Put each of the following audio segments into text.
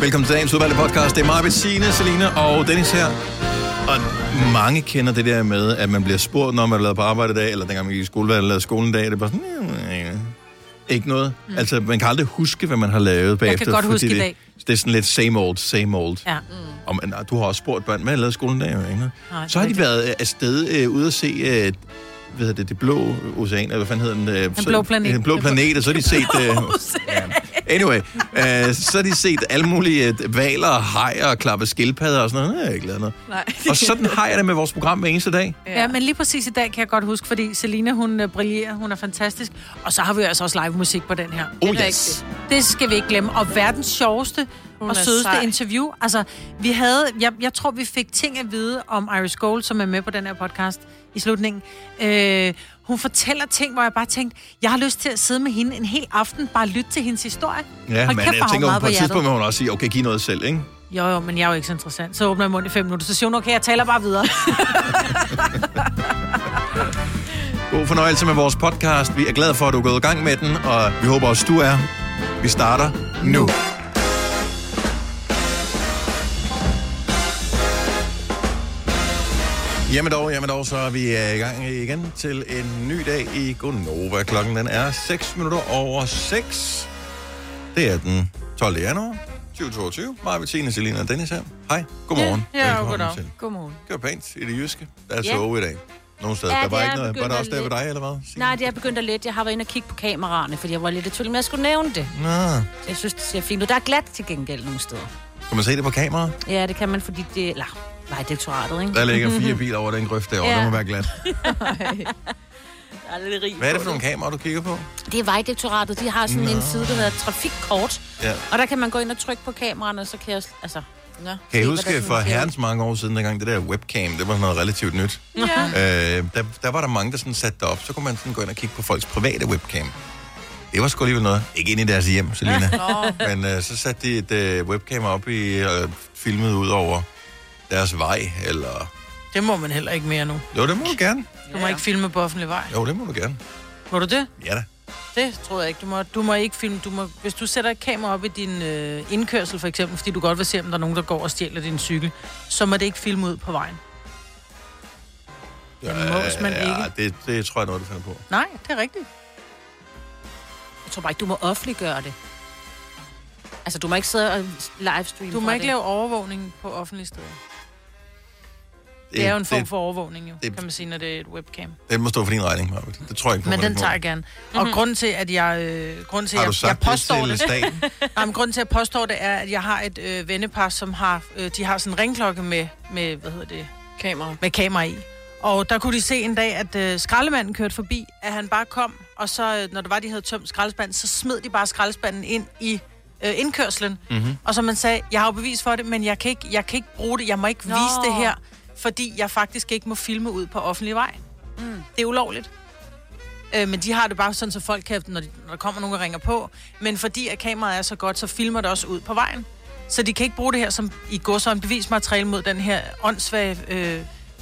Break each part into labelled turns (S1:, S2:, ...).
S1: Velkommen til dagens udvalgte podcast. Det er mig, Bettine, Selina og Dennis her. Og mange kender det der med, at man bliver spurgt, når man lader på arbejde i dag, eller dengang man gik i skole, eller lavede skolen i dag. Det er bare sådan, "Ja, ja, ja." ikke noget. Mm. Altså, man kan aldrig huske, hvad man har lavet bagefter.
S2: godt
S1: fordi
S2: huske i
S1: det,
S2: dag.
S1: Det er sådan lidt same old, same old.
S2: Ja.
S1: Og man, du har også spurgt børn, hvad lavede skolen i dag? Ikke?
S2: Nej,
S1: så har de
S2: rigtigt.
S1: været øh, afsted øh, ude at se øh, hvad hedder det, det blå ocean, eller hvad fanden hedder den? Øh, den
S2: blå planet.
S1: Den blå planet, og så har de set... Øh, anyway, øh, så har de set alle mulige øh, valer og hajer og klappe skildpadder og sådan noget. Nej, jeg har ikke lavet noget.
S3: Nej.
S1: Og sådan har jeg det med vores program hver eneste dag.
S2: Ja, men lige præcis i dag kan jeg godt huske, fordi Selina, hun øh, brillerer, hun er fantastisk. Og så har vi jo altså også live musik på den her.
S1: Oh
S3: er
S1: yes.
S2: Det skal vi ikke glemme. Og verdens sjoveste og
S3: er
S2: sødeste
S3: sej.
S2: interview. Altså, vi havde, jeg, jeg tror, vi fik ting at vide om Iris Gold, som er med på den her podcast i slutningen. Øh, hun fortæller ting, hvor jeg bare tænkte, jeg har lyst til at sidde med hende en hel aften, bare lytte til hendes historie.
S1: Ja,
S2: Hold
S1: men
S2: kæft,
S1: jeg
S2: hvor har hun
S1: tænker,
S2: meget
S1: på et
S2: hjertet.
S1: tidspunkt må hun også sige, okay, giv noget selv, ikke?
S2: Jo, jo, men jeg er jo ikke så interessant. Så åbner jeg munden i fem minutter, så siger hun, okay, jeg taler bare videre.
S1: God fornøjelse med vores podcast. Vi er glade for, at du er gået i gang med den, og vi håber også, du er. Vi starter nu. Jamen dog, jamen dog, så er vi øh, i gang igen til en ny dag i Gonova. Klokken den er 6 minutter over 6. Det er den 12. januar 2022. Maja Bettine, Selina og Dennis her. Hej, godmorgen.
S2: Ja, ja,
S1: Velkommen
S2: goddag.
S1: til.
S3: Godmorgen.
S1: Det var pænt i det jyske. Der er
S3: Ja.
S1: sove i dag. Nogle steder.
S3: Ja,
S1: der var
S3: det
S1: ikke
S3: er
S1: noget. Var
S3: begyndt
S1: der
S3: at
S1: også der ved
S3: lidt.
S1: dig, eller hvad? Signe?
S3: Nej, det er begyndt at lidt. Jeg har været inde og kigge på kameraerne, fordi jeg var lidt i tvivl, men jeg skulle nævne det.
S1: Nå.
S3: Jeg synes, det ser fint ud. Der er glat til gengæld nogle steder.
S1: Kan man se det på kamera?
S3: Ja, det kan man, fordi det... Eller, vejdirektoratet, ikke?
S1: Der ligger fire biler over den grøft derovre. Ja.
S3: Ja.
S1: Det må være glat.
S3: Der er lidt rig
S1: Hvad er det for
S3: på
S1: nogle kameraer, du kigger på?
S3: det? Det er Vejdirektoratet. De har sådan
S1: Nå.
S3: en side, der hedder Trafikkort.
S1: Ja.
S3: Og der kan man gå ind og trykke på kameraerne, og så kan jeg... s- Altså, Nå.
S1: Kan jeg
S3: Se,
S1: huske
S3: hvordan
S1: for
S3: den ser ud.
S1: herrens mange år siden, dengang det der webcam, det var sådan noget relativt nyt. Ja. Øh, der, der, var der mange, der sådan satte det op. Så kunne man sådan gå ind og kigge på folks private webcam. Det var sgu alligevel noget. Ikke ind i deres hjem, Selina. Men øh, så satte de et øh, webcam op i øh, filmet ud over deres vej, eller...
S2: det må man heller ikke mere nu.
S1: Jo, det må du gerne.
S2: Du må ikke filme på offentlig vej.
S1: Jo, det må du gerne.
S2: Må du det?
S1: Ja da.
S2: Det tror jeg ikke. Du må, du må ikke filme. Du må, hvis du sætter et kamera op i din øh, indkørsel, for eksempel, fordi du godt vil se, om der er nogen, der går og stjæler din cykel, så må det ikke filme ud på vejen. Det mås man
S1: Ja,
S2: ikke.
S1: det, det tror jeg er noget, du finder på.
S2: Nej, det er rigtigt.
S3: Jeg tror bare ikke, du må offentliggøre det. Altså, du må ikke sidde og livestreame
S2: Du må
S3: fra
S2: ikke
S3: det.
S2: lave overvågning på offentlige steder. Det er jo en form for overvågning, jo,
S1: det-
S2: det, kan man sige, når det er et webcam.
S1: Det må stå for din regning, Marvitt. Det tror jeg ikke på.
S2: Men den tager jeg gerne. Og grunden til, at jeg, øh, grunden til,
S1: Har
S2: at jeg,
S1: du
S2: jeg
S1: sagt det
S2: påstår
S1: til
S2: det,
S1: staten?
S2: Nej, men grunden til, at jeg påstår det, er, at jeg har et øh, vennepar, som har, øh, de har sådan en ringklokke med, med, hvad hedder det? Kamera. Med kamera i. Og der kunne de se en dag, at øh, skraldemanden kørte forbi, at han bare kom, og så, øh, når det var, de havde tømt skraldespanden, så smed de bare skraldespanden ind i øh, indkørslen.
S1: Mhm.
S2: Mm-hmm. Og så man sagde, jeg har jo bevis for det, men jeg kan ikke, jeg kan ikke bruge det, jeg må ikke Nå.
S3: Nå.
S2: vise det her, fordi jeg faktisk ikke må filme ud på offentlig vej. Mm. Det er ulovligt. Øh, men de har det bare sådan, så folk kan, når, de, når der kommer nogen og ringer på. Men fordi at kameraet er så godt, så filmer det også ud på vejen. Så de kan ikke bruge det her som i går som bevismateriale mod den her åndssvage øh,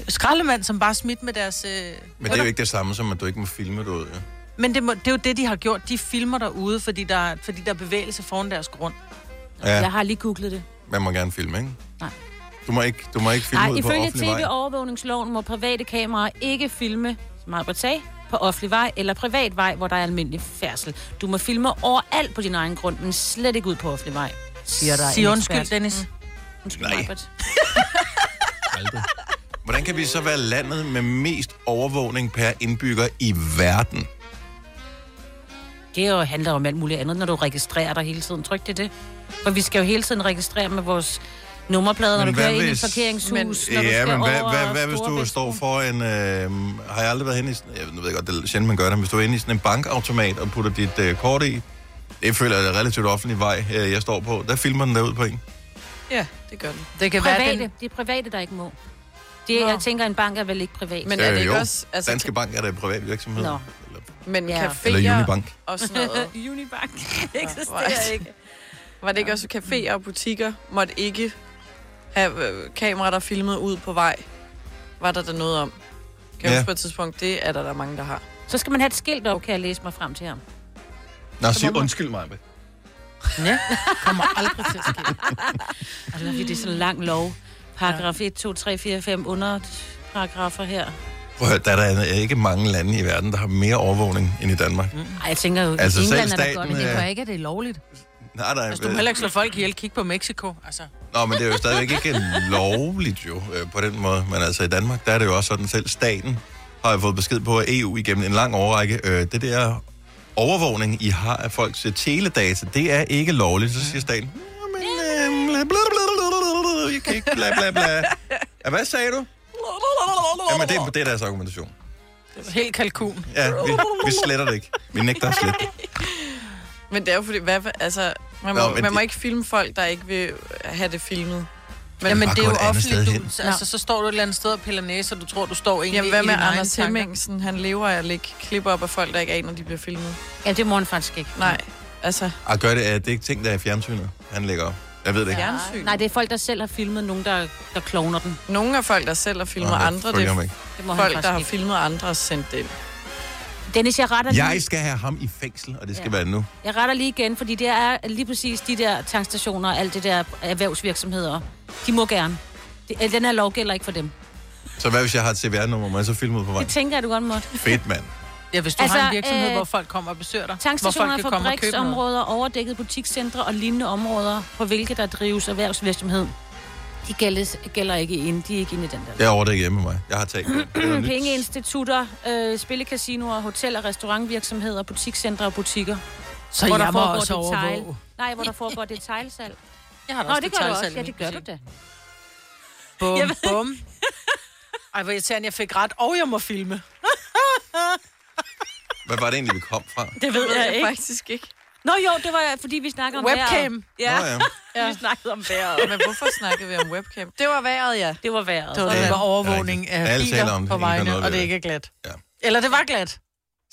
S2: skraldemand, som bare er smidt med deres... Øh,
S1: Men det er jo ikke det samme som, at du ikke må filme det ud. Ja.
S2: men det, må, det er jo det, de har gjort. De filmer derude, fordi der, fordi der er bevægelse foran deres grund.
S1: ja,
S3: Jeg har lige googlet det.
S1: man må gerne filme, ikke?
S3: Nej.
S1: Du må ikke, du må ikke filme
S3: Nej,
S1: ud på
S3: ifølge
S1: offentlig vej.
S3: tv-overvågningsloven må private kameraer ikke filme, som Albert sagde, på offentlig vej eller privat vej, hvor der er almindelig færdsel. Du må filme overalt på din egen grund, men slet ikke ud på offentlig vej, siger der
S2: Sig
S3: en
S2: undskyld,
S3: ekspert.
S2: Dennis. Mm.
S3: Undskyld,
S1: Nej.
S3: Majbert.
S1: Aldrig. Hvordan kan vi så være landet med mest overvågning per indbygger i verden?
S3: Det jo handler om alt muligt andet, når du registrerer dig hele tiden. Tryk det det. For vi skal jo hele tiden registrere med vores nummerplader, når
S1: Men
S3: du
S1: hvad
S3: kører ind i
S1: hvis-
S3: et parkeringshus,
S1: Men-
S3: når du skal
S1: Ja, men hvad,
S3: over
S1: hvad, hvad hvis du
S3: Storebælt.
S1: står for en... Øh, har jeg aldrig været henne i... sådan- Jeg ved jeg godt, det er sjældent, man gør det, men hvis du er inde i sådan en bankautomat og putter dit øh, kort i, det føler jeg er en relativt offentlig vej, øh, jeg står på. Der filmer den derud på en.
S4: Ja, det gør den.
S2: Det kan være,
S3: Private.
S2: den,
S3: Det er private, der ikke må. Det,
S4: Nå.
S3: jeg tænker, en bank er vel ikke privat.
S4: Men er det
S1: Øh,
S4: ikke
S1: jo.
S4: også... Altså,
S1: Danske Bank er da en privat virksomhed.
S3: Nå.
S1: Eller,
S4: Men
S3: Ja.
S4: caféer
S1: eller Unibank.
S4: og sådan noget.
S3: Unibank
S4: eksisterer
S3: ikke.
S4: Var det ikke også caféer og butikker måtte ikke have øh, kameraer, der filmede ud på vej? Var der der noget om? Kan jeg
S1: Ja.
S4: huske på et tidspunkt, det er der, der er mange, der har.
S3: Så skal man have et skilt op, kan jeg læse mig frem til ham.
S1: Nå, sig undskyld mig.
S2: Ja, kommer aldrig til at ske.
S3: Og det er, fordi det er sådan en lang lov. Paragraf 1, 2, 3, 4, 5 under paragrafer her.
S1: Prøv at høre, der er der ikke mange lande i verden, der har mere overvågning end i Danmark. Mm.
S3: Ej, jeg tænker jo,
S1: Altså,
S3: altså,
S1: selv
S3: England er da
S1: staten,
S3: godt.
S1: øh,
S3: Men det
S1: Ja.
S5: Det gør ikke, at det er lovligt.
S1: Nej, øh, nej.
S2: Altså, du må heller ikke slå folk ihjel. Kig på Mexico. Altså,
S1: Nå, men det er jo stadigvæk ikke lovligt jo, øh, på den måde. Men altså i Danmark, der er det jo også sådan, selv staten har jo fået besked på, at EU igennem en lang årrække, øh, det der overvågning, I har af folks øh, teledata, det er ikke lovligt. Så siger staten, "Nå, men øh, bla, bla, bla, bla, bla, bla, I kan ikke bla bla bla. Ja, hvad sagde du? Jamen, det, det er deres argumentation.
S2: helt kalkun.
S1: Ja, vi, vi sletter det ikke. Vi nægter at slette det.
S4: Men det er jo fordi, hvad, for- altså, man må,
S1: Nå,
S4: Nå,
S1: men
S4: man må
S1: det-
S4: ikke filme folk, der ikke vil have det filmet. Men,
S2: Jamen,
S1: bare
S2: det er
S1: gå
S2: jo
S1: et andet sted
S2: offentligt
S1: hen.
S2: dus. Altså, så står du et eller andet sted og piller næse, og du tror, du står egentlig
S4: Jamen, hvad med
S2: i dine
S4: Anders
S2: egne tanker.
S4: Hemmingsen? Han lever af at lægge klipper op af folk, der ikke aner, de bliver filmet.
S3: Ja, det må han faktisk ikke.
S4: Nej, altså,
S1: Og gør det, er det ikke ting, der er i fjernsynet, han lægger op? Jeg ved det ikke.
S4: fjernsyn.
S3: Nej, det er folk, der selv har filmet nogen, der, der kloner den.
S4: Nogle af folk, der selv har filmet
S1: Nå, jeg
S4: andre, det
S1: følger ham
S4: er
S1: ikke.
S3: Det må
S4: folk,
S3: han
S4: der har
S3: faktisk ikke.
S4: filmet andre og sendt det ind.
S3: Dennis, jeg retter, lige,
S1: Jeg skal have ham i fængsel, og det skal
S3: Ja.
S1: være nu.
S3: jeg retter lige igen, fordi det er lige præcis de der tankstationer og alt det der erhvervsvirksomheder. De må gerne. Det- Den her lov gælder ikke for dem.
S1: Så hvad hvis jeg har et CVR-nummer, må jeg så filme ud på
S3: Det
S1: vejen?
S3: tænker jeg, du godt måtte.
S1: Fedt, mand.
S2: Ja, hvis du
S3: Altså,
S2: har en virksomhed,
S3: øh,
S2: hvor folk kommer og besøger dig. Hvor folk
S3: Tankstationer,
S2: kan komme og købe noget.
S3: fabriksområder, overdækkede butikscentre og lignende områder, på hvilke der drives erhvervsvirksomhed, de gældes, gælder ikke ind. De er ikke inde i den der.
S1: Jeg er over det hjemme med mig. Jeg har talt med
S3: Mm, Pengeinstitutter, øh, spillekasinoer, hotel- og restaurantvirksomheder, butikscentre og butikker.
S2: Så
S3: hvor
S2: jeg
S3: der
S2: må
S3: foregår
S2: også
S3: detail.
S2: overvåge.
S3: Nej, hvor der foregår detailsalg.
S2: Jeg har da
S3: Nå,
S2: også
S3: det gør du også.
S2: detailsalg i
S3: Ja,
S2: min
S3: det gør du
S2: butik.
S3: da.
S2: Bum, bum. Ej, hvor irriterende, jeg fik ret, og jeg må filme.
S1: Hvad var det egentlig, vi kom fra?
S3: Det ved jeg ikke.
S4: faktisk ikke.
S3: Nå jo, det var fordi, vi snakkede om
S2: Webcam.
S1: Ja.
S3: vejret.
S1: Nå, ja.
S3: Ja, vi snakkede om vejret.
S4: Men hvorfor snakkede vi om webcam? Det var vejret, ja.
S3: Det var vejret.
S2: Det var,
S1: Ja,
S2: det var
S1: det
S2: overvågning
S1: er rigtigt.
S2: af
S1: Alle taler om
S2: biler
S1: det,
S2: på
S1: ingen gør
S2: vejene,
S1: noget ved
S2: og det
S1: det.
S2: ikke er glat.
S1: Ja.
S2: Eller det var glat.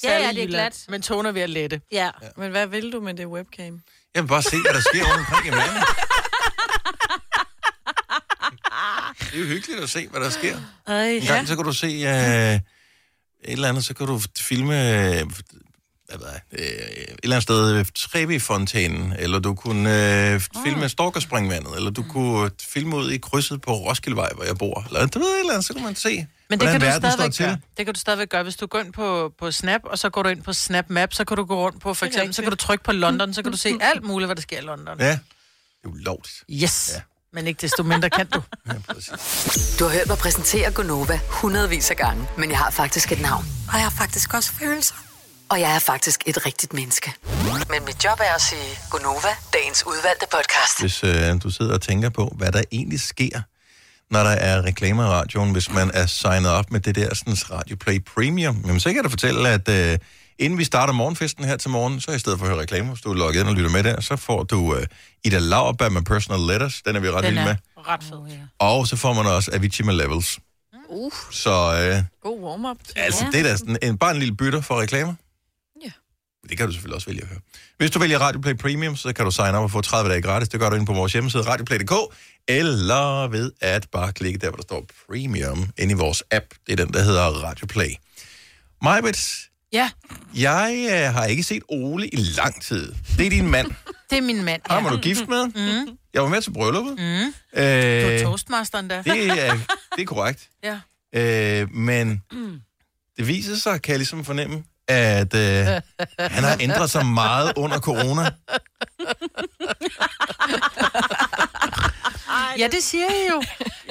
S3: Ja,
S2: Særlig
S3: ja, det er
S2: lilla,
S3: glat.
S2: Men toner ved at lette.
S3: Ja.
S4: Men hvad vil du med det webcam?
S1: Jeg vil bare se, hvad der sker rundt omkring i verden. Det er jo hyggeligt at se, hvad der sker.
S3: Ej,
S1: En
S3: ja.
S1: gang, så kan du se øh, et eller andet, så kan du filme øh, hvad ved jeg, øh, et eller andet sted øh, Trevi-fontænen, eller du kunne øh, filme Storkerspringvandet, eller du kunne øh, filme ud i krydset på Roskildevej, hvor jeg bor. Eller, du ved et eller andet, så kan man se,
S2: Men det kan, du
S1: verden står
S2: stadigvæk
S1: til.
S2: gøre. det kan du stadigvæk gøre. Hvis du går ind på, på Snap, og så går du ind på Snap Map, så kan du gå rundt på, for eksempel, så kan du trykke på London, så kan du se alt muligt, hvad der sker i London.
S1: Ja, det er ulovligt.
S2: Yes.
S1: Ja.
S2: Men ikke desto mindre kan du.
S1: Ja, præcis.
S6: Du har hørt mig præsentere Gonova hundredvis af gange, men jeg har faktisk et navn.
S7: Og jeg har faktisk også følelser.
S6: Og jeg er faktisk et rigtigt menneske. Men mit job er at sige Gonova, dagens udvalgte podcast.
S1: Hvis øh, du sidder og tænker på, hvad der egentlig sker, når der er reklamer i radioen, hvis man er signet op med det der sådan, Radio Play Premium, jamen, så kan jeg da fortælle, at øh, inden vi starter morgenfesten her til morgen, så i stedet for at høre reklamer, hvis du er logget ind og lytter med der, så får du øh, Ida Lauerberg med Personal Letters, den er vi ret
S2: Den
S1: vilde med,
S2: er ret fed. Ja.
S1: og så får man også Avicii med Levels.
S4: Mm. Uh.
S1: Så øh,
S4: God warm-up.
S1: altså,
S3: Ja.
S1: det er da sådan en, bare en lille bytter for reklamer.
S4: Ja.
S1: Det kan du selvfølgelig også vælge at høre. Hvis du vælger Radio Play Premium, så kan du signe op og få 30 dage gratis. Det gør du inde på vores hjemmeside, radioplay.dk, eller ved at bare klikke der, hvor der står Premium, inde i vores app. Det er den, der hedder Radio Play. Majbet,
S2: ja,
S1: jeg øh, har ikke set Ole i lang tid. Det er din mand.
S2: det er min mand. Ja.
S1: Ham er du gift med. Mm. Jeg var med til brylluppet. Mm.
S2: Du
S1: Øh,
S2: er toastmasteren der.
S1: det, er, øh, det er korrekt.
S2: Ja.
S1: Øh, men det viser sig, kan jeg ligesom fornemme, at øh, han har ændret sig meget under corona.
S2: ja, det siger jeg jo.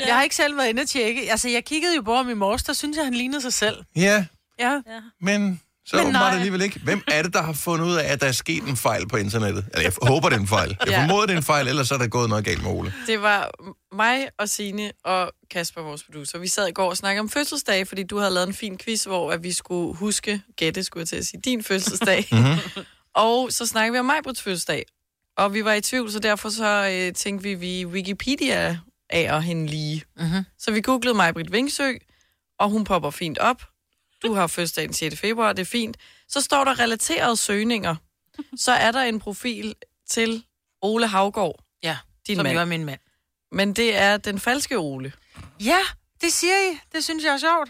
S2: Jeg har ikke selv været inde og tjekke. Altså, jeg kiggede jo på ham i morges, der synes jeg, han lignede sig selv.
S1: Ja,
S2: Ja.
S1: men så
S2: Men
S1: men åbenbart
S2: nej.
S1: alligevel ikke. Hvem er det, der har fundet ud af, at der er sket en fejl på internettet? Eller jeg håber, det er en fejl. Jeg
S4: Ja.
S1: formoder, det er en fejl, ellers er der gået noget galt med Ole.
S4: Det var mig og Sine og Kasper, vores producer. Vi sad i går og snakkede om fødselsdag, fordi du havde lavet en fin quiz, hvor at vi skulle huske, gætte skulle jeg til at sige, din fødselsdag.
S1: Mhm.
S2: Mm-hmm.
S4: og så snakkede vi om Majbruds fødselsdag. Og vi var i tvivl, så derfor så øh, tænkte vi, vi Wikipedia af og hende lige.
S2: Mhm.
S4: Så vi googlede Majbrit Vingsø, og hun popper fint op. Du har fødselsdag den 6. februar, det er fint. Så står der relaterede søgninger. Så er der en profil til Ole Havgård,
S2: Ja,
S4: din
S2: som
S4: mand.
S2: jo er min mand.
S4: Men det er den falske Ole.
S2: Ja, det siger I. Det synes jeg er sjovt.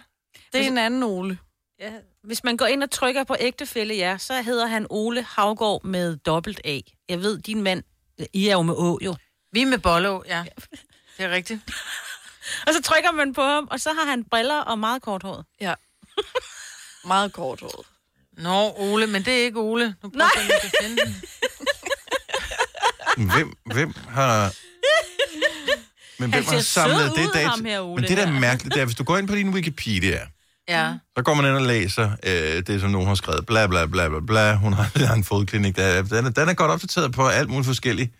S4: Det er en anden Ole.
S3: Ja. Hvis man går ind og trykker på ægtefælle, ja, så hedder han Ole Havgård med dobbelt A. Jeg ved, din mand I er jo med å, jo.
S2: Vi er med Bollo, ja. Det er rigtigt.
S3: Og så trykker man på ham, og så har han briller og meget kort hår.
S4: Ja. Meget kort råd.
S2: Nå, Ole, men det er ikke Ole. Nu prøver jeg, om jeg kan finde den.
S1: Hvem, hvem har... Men hvem
S3: ser
S1: har
S3: sød
S1: samlet
S3: ud,
S1: det data?
S3: ham her, Ole,
S1: Men det, der er
S3: der.
S1: mærkeligt, det er, hvis du går ind på din Wikipedia,
S2: Ja.
S1: så går man ind og læser øh, det, som nogen har skrevet. Bla, bla, bla, bla, bla. Hun har, har en fodklinik. Der, er- den, er, den er godt opdateret på alt muligt forskelligt.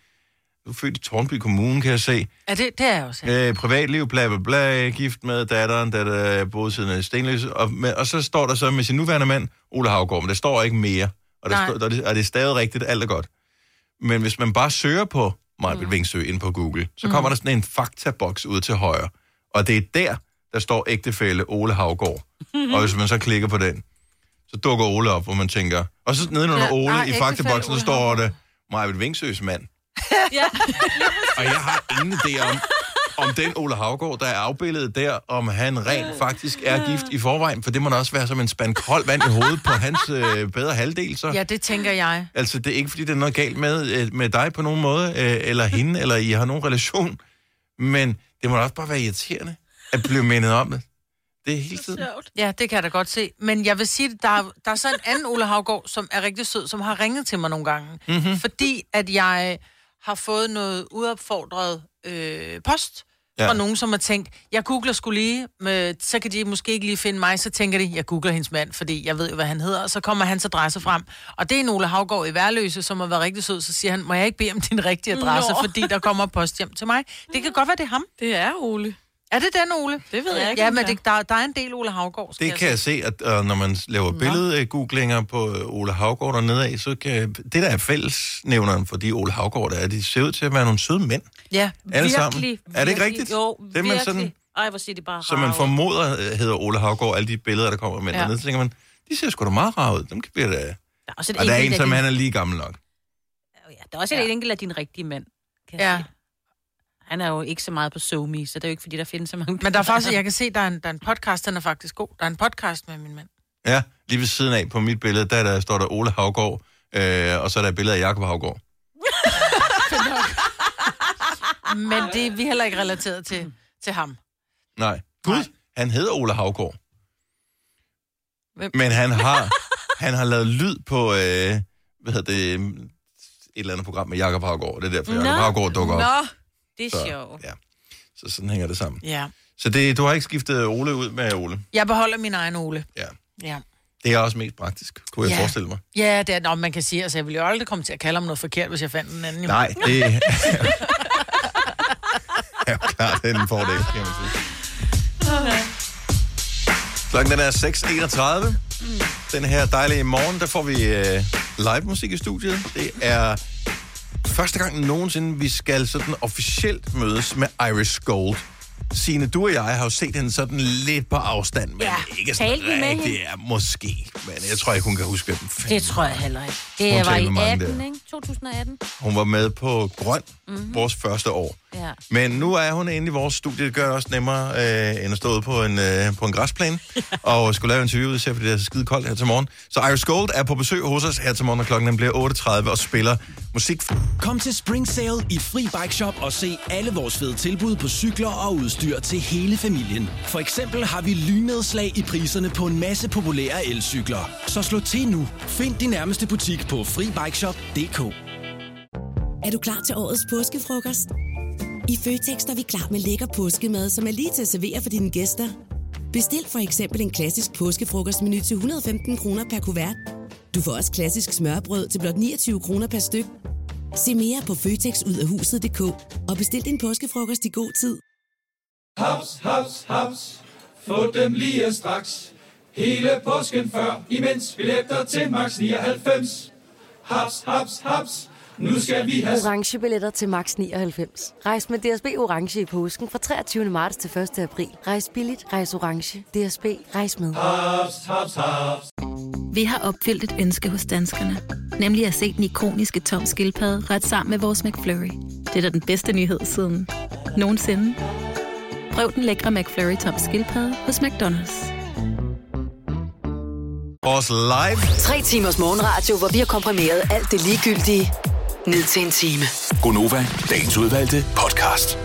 S1: Du er født i Tornby Kommune, kan jeg se.
S2: Er det, det er jeg også. Ja.
S1: Øh, privatliv, bla, bla, bla. Gift med datteren, der der boede siden af Stenløse. Og, med, og så står der så med sin nuværende mand, Ole Havgård, men der står ikke mere. Og, der
S2: Nej.
S1: står, der, er- og det er stadig rigtigt, alt er godt. Men hvis man bare søger på
S2: Mm.
S1: Marbet Vingsø ind på Google, så kommer der sådan en faktaboks ud til højre. Og det er der, der står ægtefælle Ole Havgård.
S2: Mhm.
S1: og hvis man så klikker på den, så dukker Ole op, hvor man tænker... Og så nedenunder
S2: Ja,
S1: Ole
S2: nej,
S1: i
S2: ægtefælle
S1: faktaboksen, så
S2: Ole
S1: står
S2: Havgård.
S1: det Marbet Vingsøs mand.
S3: Ja.
S1: Og jeg har ingen idé om, om den Ole Havgård, der er afbildet der, om han rent faktisk er gift i forvejen, for det må da også være som en spand koldt vand i hovedet på hans øh, bedre halvdel, så.
S2: ja, det tænker jeg.
S1: Altså, det er ikke, fordi der er noget galt med, øh, med dig på nogen måde, øh, eller hende, eller I har nogen relation, men det må da også bare være irriterende at blive mindet om det. Det er hele tiden.
S2: Ja, det kan jeg da godt se. Men jeg vil sige, at der, er- der er så en anden Ole Havgård, som er rigtig sød, som har ringet til mig nogle gange. Mm-hmm. Fordi at jeg har fået noget uopfordret øh, post
S1: Ja.
S2: ja. fra nogen, som har tænkt, jeg googler skulle lige, med, så kan de måske ikke lige finde mig, så tænker de, jeg googler hendes mand, fordi jeg ved jo, hvad han hedder, og så kommer hans adresse frem. Og det er en Ole Havgård i Værløse, som har været rigtig sød, så siger han, må jeg ikke bede om din rigtige adresse,
S3: Nå.
S2: Nå. fordi der kommer post hjem til mig. Det kan godt være, det er ham.
S4: Det er Ole.
S2: Er det den, Ole?
S4: Det ved jeg ikke,
S2: Ja,
S4: om
S2: men
S4: det er.
S2: det, der, der er en del Ole Havgård. skal
S1: Det
S2: jeg
S1: kan jeg se, at øh, når man laver billedgooglinger på øh, Ole Havgård og nedad, så kan det, der er fællesnævneren for de Ole Havgård, der er, de ser ud til at være nogle søde mænd.
S2: Ja,
S1: alle
S3: virkelig,
S1: sammen. Er det ikke
S3: virkelig.
S1: rigtigt?
S3: Jo,
S1: det er man sådan,
S3: virkelig. Ej, hvor siger de bare
S1: som man
S3: rare.
S1: formoder øh, hedder Ole Havgård, alle de billeder, der kommer med ja.
S4: Ja.
S1: dernede, så tænker man, de ser sgu da meget rare ud. Dem kan vi da...
S3: Ja, Og, så er
S1: Og der er en,
S3: enkelt af
S1: som
S3: din-
S1: han er lige gammel nok.
S3: Ja, der er også et enkelt af din rigtige mand. Kan jeg
S2: Ja.
S3: sige. Han er jo ikke så meget på SoMe, så det er jo ikke, fordi der findes så mange...
S2: men der er faktisk, jeg kan se, der er en, der er en podcast, den er faktisk god. Der er en podcast med min mand.
S1: Ja, lige ved siden af på mit billede, der, der står der Ole Havgård, øh, og så er der et billede af Jakob Havgård.
S2: Men det er vi heller ikke relateret til, til ham.
S1: Nej. Gud,
S2: Nej.
S1: han hedder Ole Havgård.
S4: Hvem?
S1: Men han har, han har lavet lyd på, øh, hvad hedder det, øh, et eller andet program med Jakob Havgård. Det er derfor, Jakob
S3: Nå.
S1: Havgård dukker op.
S4: Nå,
S3: Det er sjovt.
S1: Ja. Så sådan hænger det sammen.
S2: Ja.
S1: Så det, du har ikke skiftet Ole ud med Ole?
S2: Jeg beholder min egen Ole.
S1: Ja.
S2: Ja.
S1: Det er også mest praktisk, kunne jeg
S2: Ja.
S1: forestille mig.
S2: Ja, det er, nå, man kan sige, altså, jeg ville jo aldrig komme til at kalde ham noget forkert, hvis jeg fandt en anden.
S1: Nej, det er er jo klart det er en fordel, kan man sige. Klokken den er 6.31. Den her dejlige morgen, der får vi øh, live musik i studiet. Det er første gang nogensinde, vi skal sådan officielt mødes med Iris Gold. Signe, du og jeg har jo set hende sådan lidt på afstand, men ja, ikke sådan
S3: talte vi med
S1: rigtig.
S3: hende?
S1: Ja, måske. Men jeg tror ikke, hun kan huske, hvem fanden
S3: Det tror jeg heller ikke. Det
S1: Hun
S3: var
S1: talte med
S3: i
S1: mange
S3: 18,
S1: der.
S3: ikke? 2018.
S1: Hun var med på Grøn, mm-hmm.
S3: Mhm.
S1: vores første år.
S3: Ja.
S1: Men nu er hun inde i vores studie. Det gør det også nemmere, øh, end at stå ude på en, øh, på en græsplæne. og skulle lave interviewet, især fordi det er så skide koldt her til morgen. Så Iris Gold er på besøg hos os her til morgen, og klokken den bliver 8.30 og spiller musik.
S5: Kom til Spring Sale i Fri Bike Shop og se alle vores fede tilbud på cykler og udstyr til hele familien. For eksempel har vi lynedslag i priserne på en masse populære elcykler. Så slå til nu. Find din nærmeste butik på FriBikeShop.dk
S8: Er du klar til årets påskefrokost? I Føtex er vi klar med lækker påskemad, som er lige til at servere for dine gæster. Bestil for eksempel en klassisk påskefrokostmenu til 115 kroner per kuvert. Du får også klassisk smørbrød til blot 29 kroner per styk. Se mere på føtexudafhuset.dk og bestil din påskefrokost i god tid.
S9: Haps, haps, haps. Få dem lige straks. Hele påsken før, imens billetter til max 99. Haps, haps, haps. Nu skal vi have
S10: Orange billetter til max 99. Rejs med DSB Orange i påsken fra 23. marts til 1. april. Rejs billigt, rejs orange. DSB, rejs med.
S9: haps, haps, haps.
S11: Vi har opfyldt et ønske hos danskerne. Nemlig at se den ikoniske tom skildpadde ret sammen med vores McFlurry. Det er da den bedste nyhed siden nogensinde. Prøv den lækre McFlurry tom skildpadde hos McDonald's.
S1: Vores live
S7: Tre timers morgenradio, hvor vi har komprimeret alt det ligegyldige
S6: ned til en time.
S12: Gonova, dagens udvalgte podcast.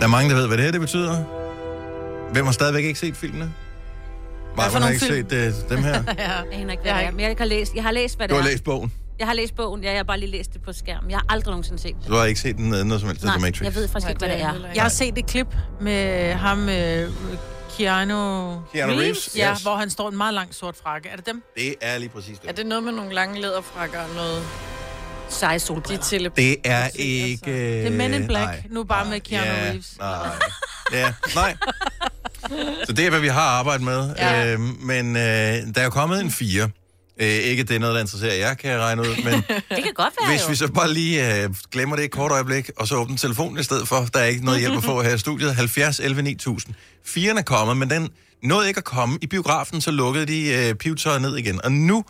S1: Der er mange, der ved, hvad det her det betyder. Hvem har stadigvæk ikke set filmene? Maja, har
S3: nogle
S1: ikke
S3: film?
S1: set uh, dem her.
S3: ja. Jeg aner ikke, hvad det er. Men jeg har læst, jeg har læst hvad
S1: Du
S3: det
S1: har
S3: er.
S1: læst bogen.
S3: Jeg har læst bogen, ja, jeg har bare lige læst det på skærmen. Jeg har aldrig nogensinde set det.
S1: Du har ikke set den øh, noget som helst. af
S3: Nej,
S1: The Matrix.
S3: jeg ved faktisk
S2: Nej,
S3: ikke, hvad
S2: det
S3: det
S2: er
S3: er.
S2: Jeg har set et klip med ham, øh, Keanu...
S1: Keanu Reeves,
S2: Ja,
S1: yes.
S2: hvor han står i en meget lang sort frakke. Er det dem?
S1: Det er lige præcis det.
S4: Er det noget med nogle lange læderfrakker og noget...
S3: Seje solbriller.
S4: De tele-
S1: Det er ikke... øh,
S2: Det er Men in Black,
S1: Nej.
S2: nu bare med Keanu
S1: ja,
S2: Reeves.
S1: Nej. Ja, nej. Så det er, hvad vi har arbejdet med. Ja. Øh, men øh, der er jo kommet en fire. Øh, ikke, at det er noget, der interesserer jer, kan jeg regne ud. Men
S3: Det kan godt være
S1: hvis
S3: jo.
S1: vi så bare lige øh, glemmer det et kort øjeblik, og så åbner telefonen i stedet for, der er ikke noget hjælp at få her i studiet. 70 11 9000. Firen er kommet, men den nåede ikke at komme. I biografen, så lukkede de øh, pivtøjet ned igen. Og nu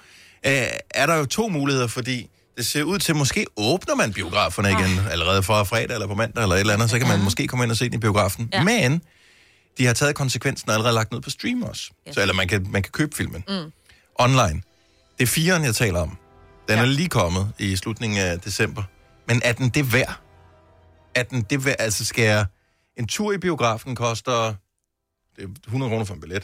S1: øh, er der jo to muligheder, fordi det ser ud til, måske åbner man biograferne igen, allerede fra fredag eller på mandag eller et eller andet, så kan man måske komme ind og se den i biografen. Ja. Men de har taget konsekvensen og allerede lagt ned på stream også. Så, eller man kan, man kan købe filmen
S13: Mm.
S1: online. Det er firen, jeg taler om. Den ja. er lige kommet i slutningen af december. Men er den det værd? Er den det værd? Altså skal jeg... En tur i biografen koster det er 100 kroner for en billet.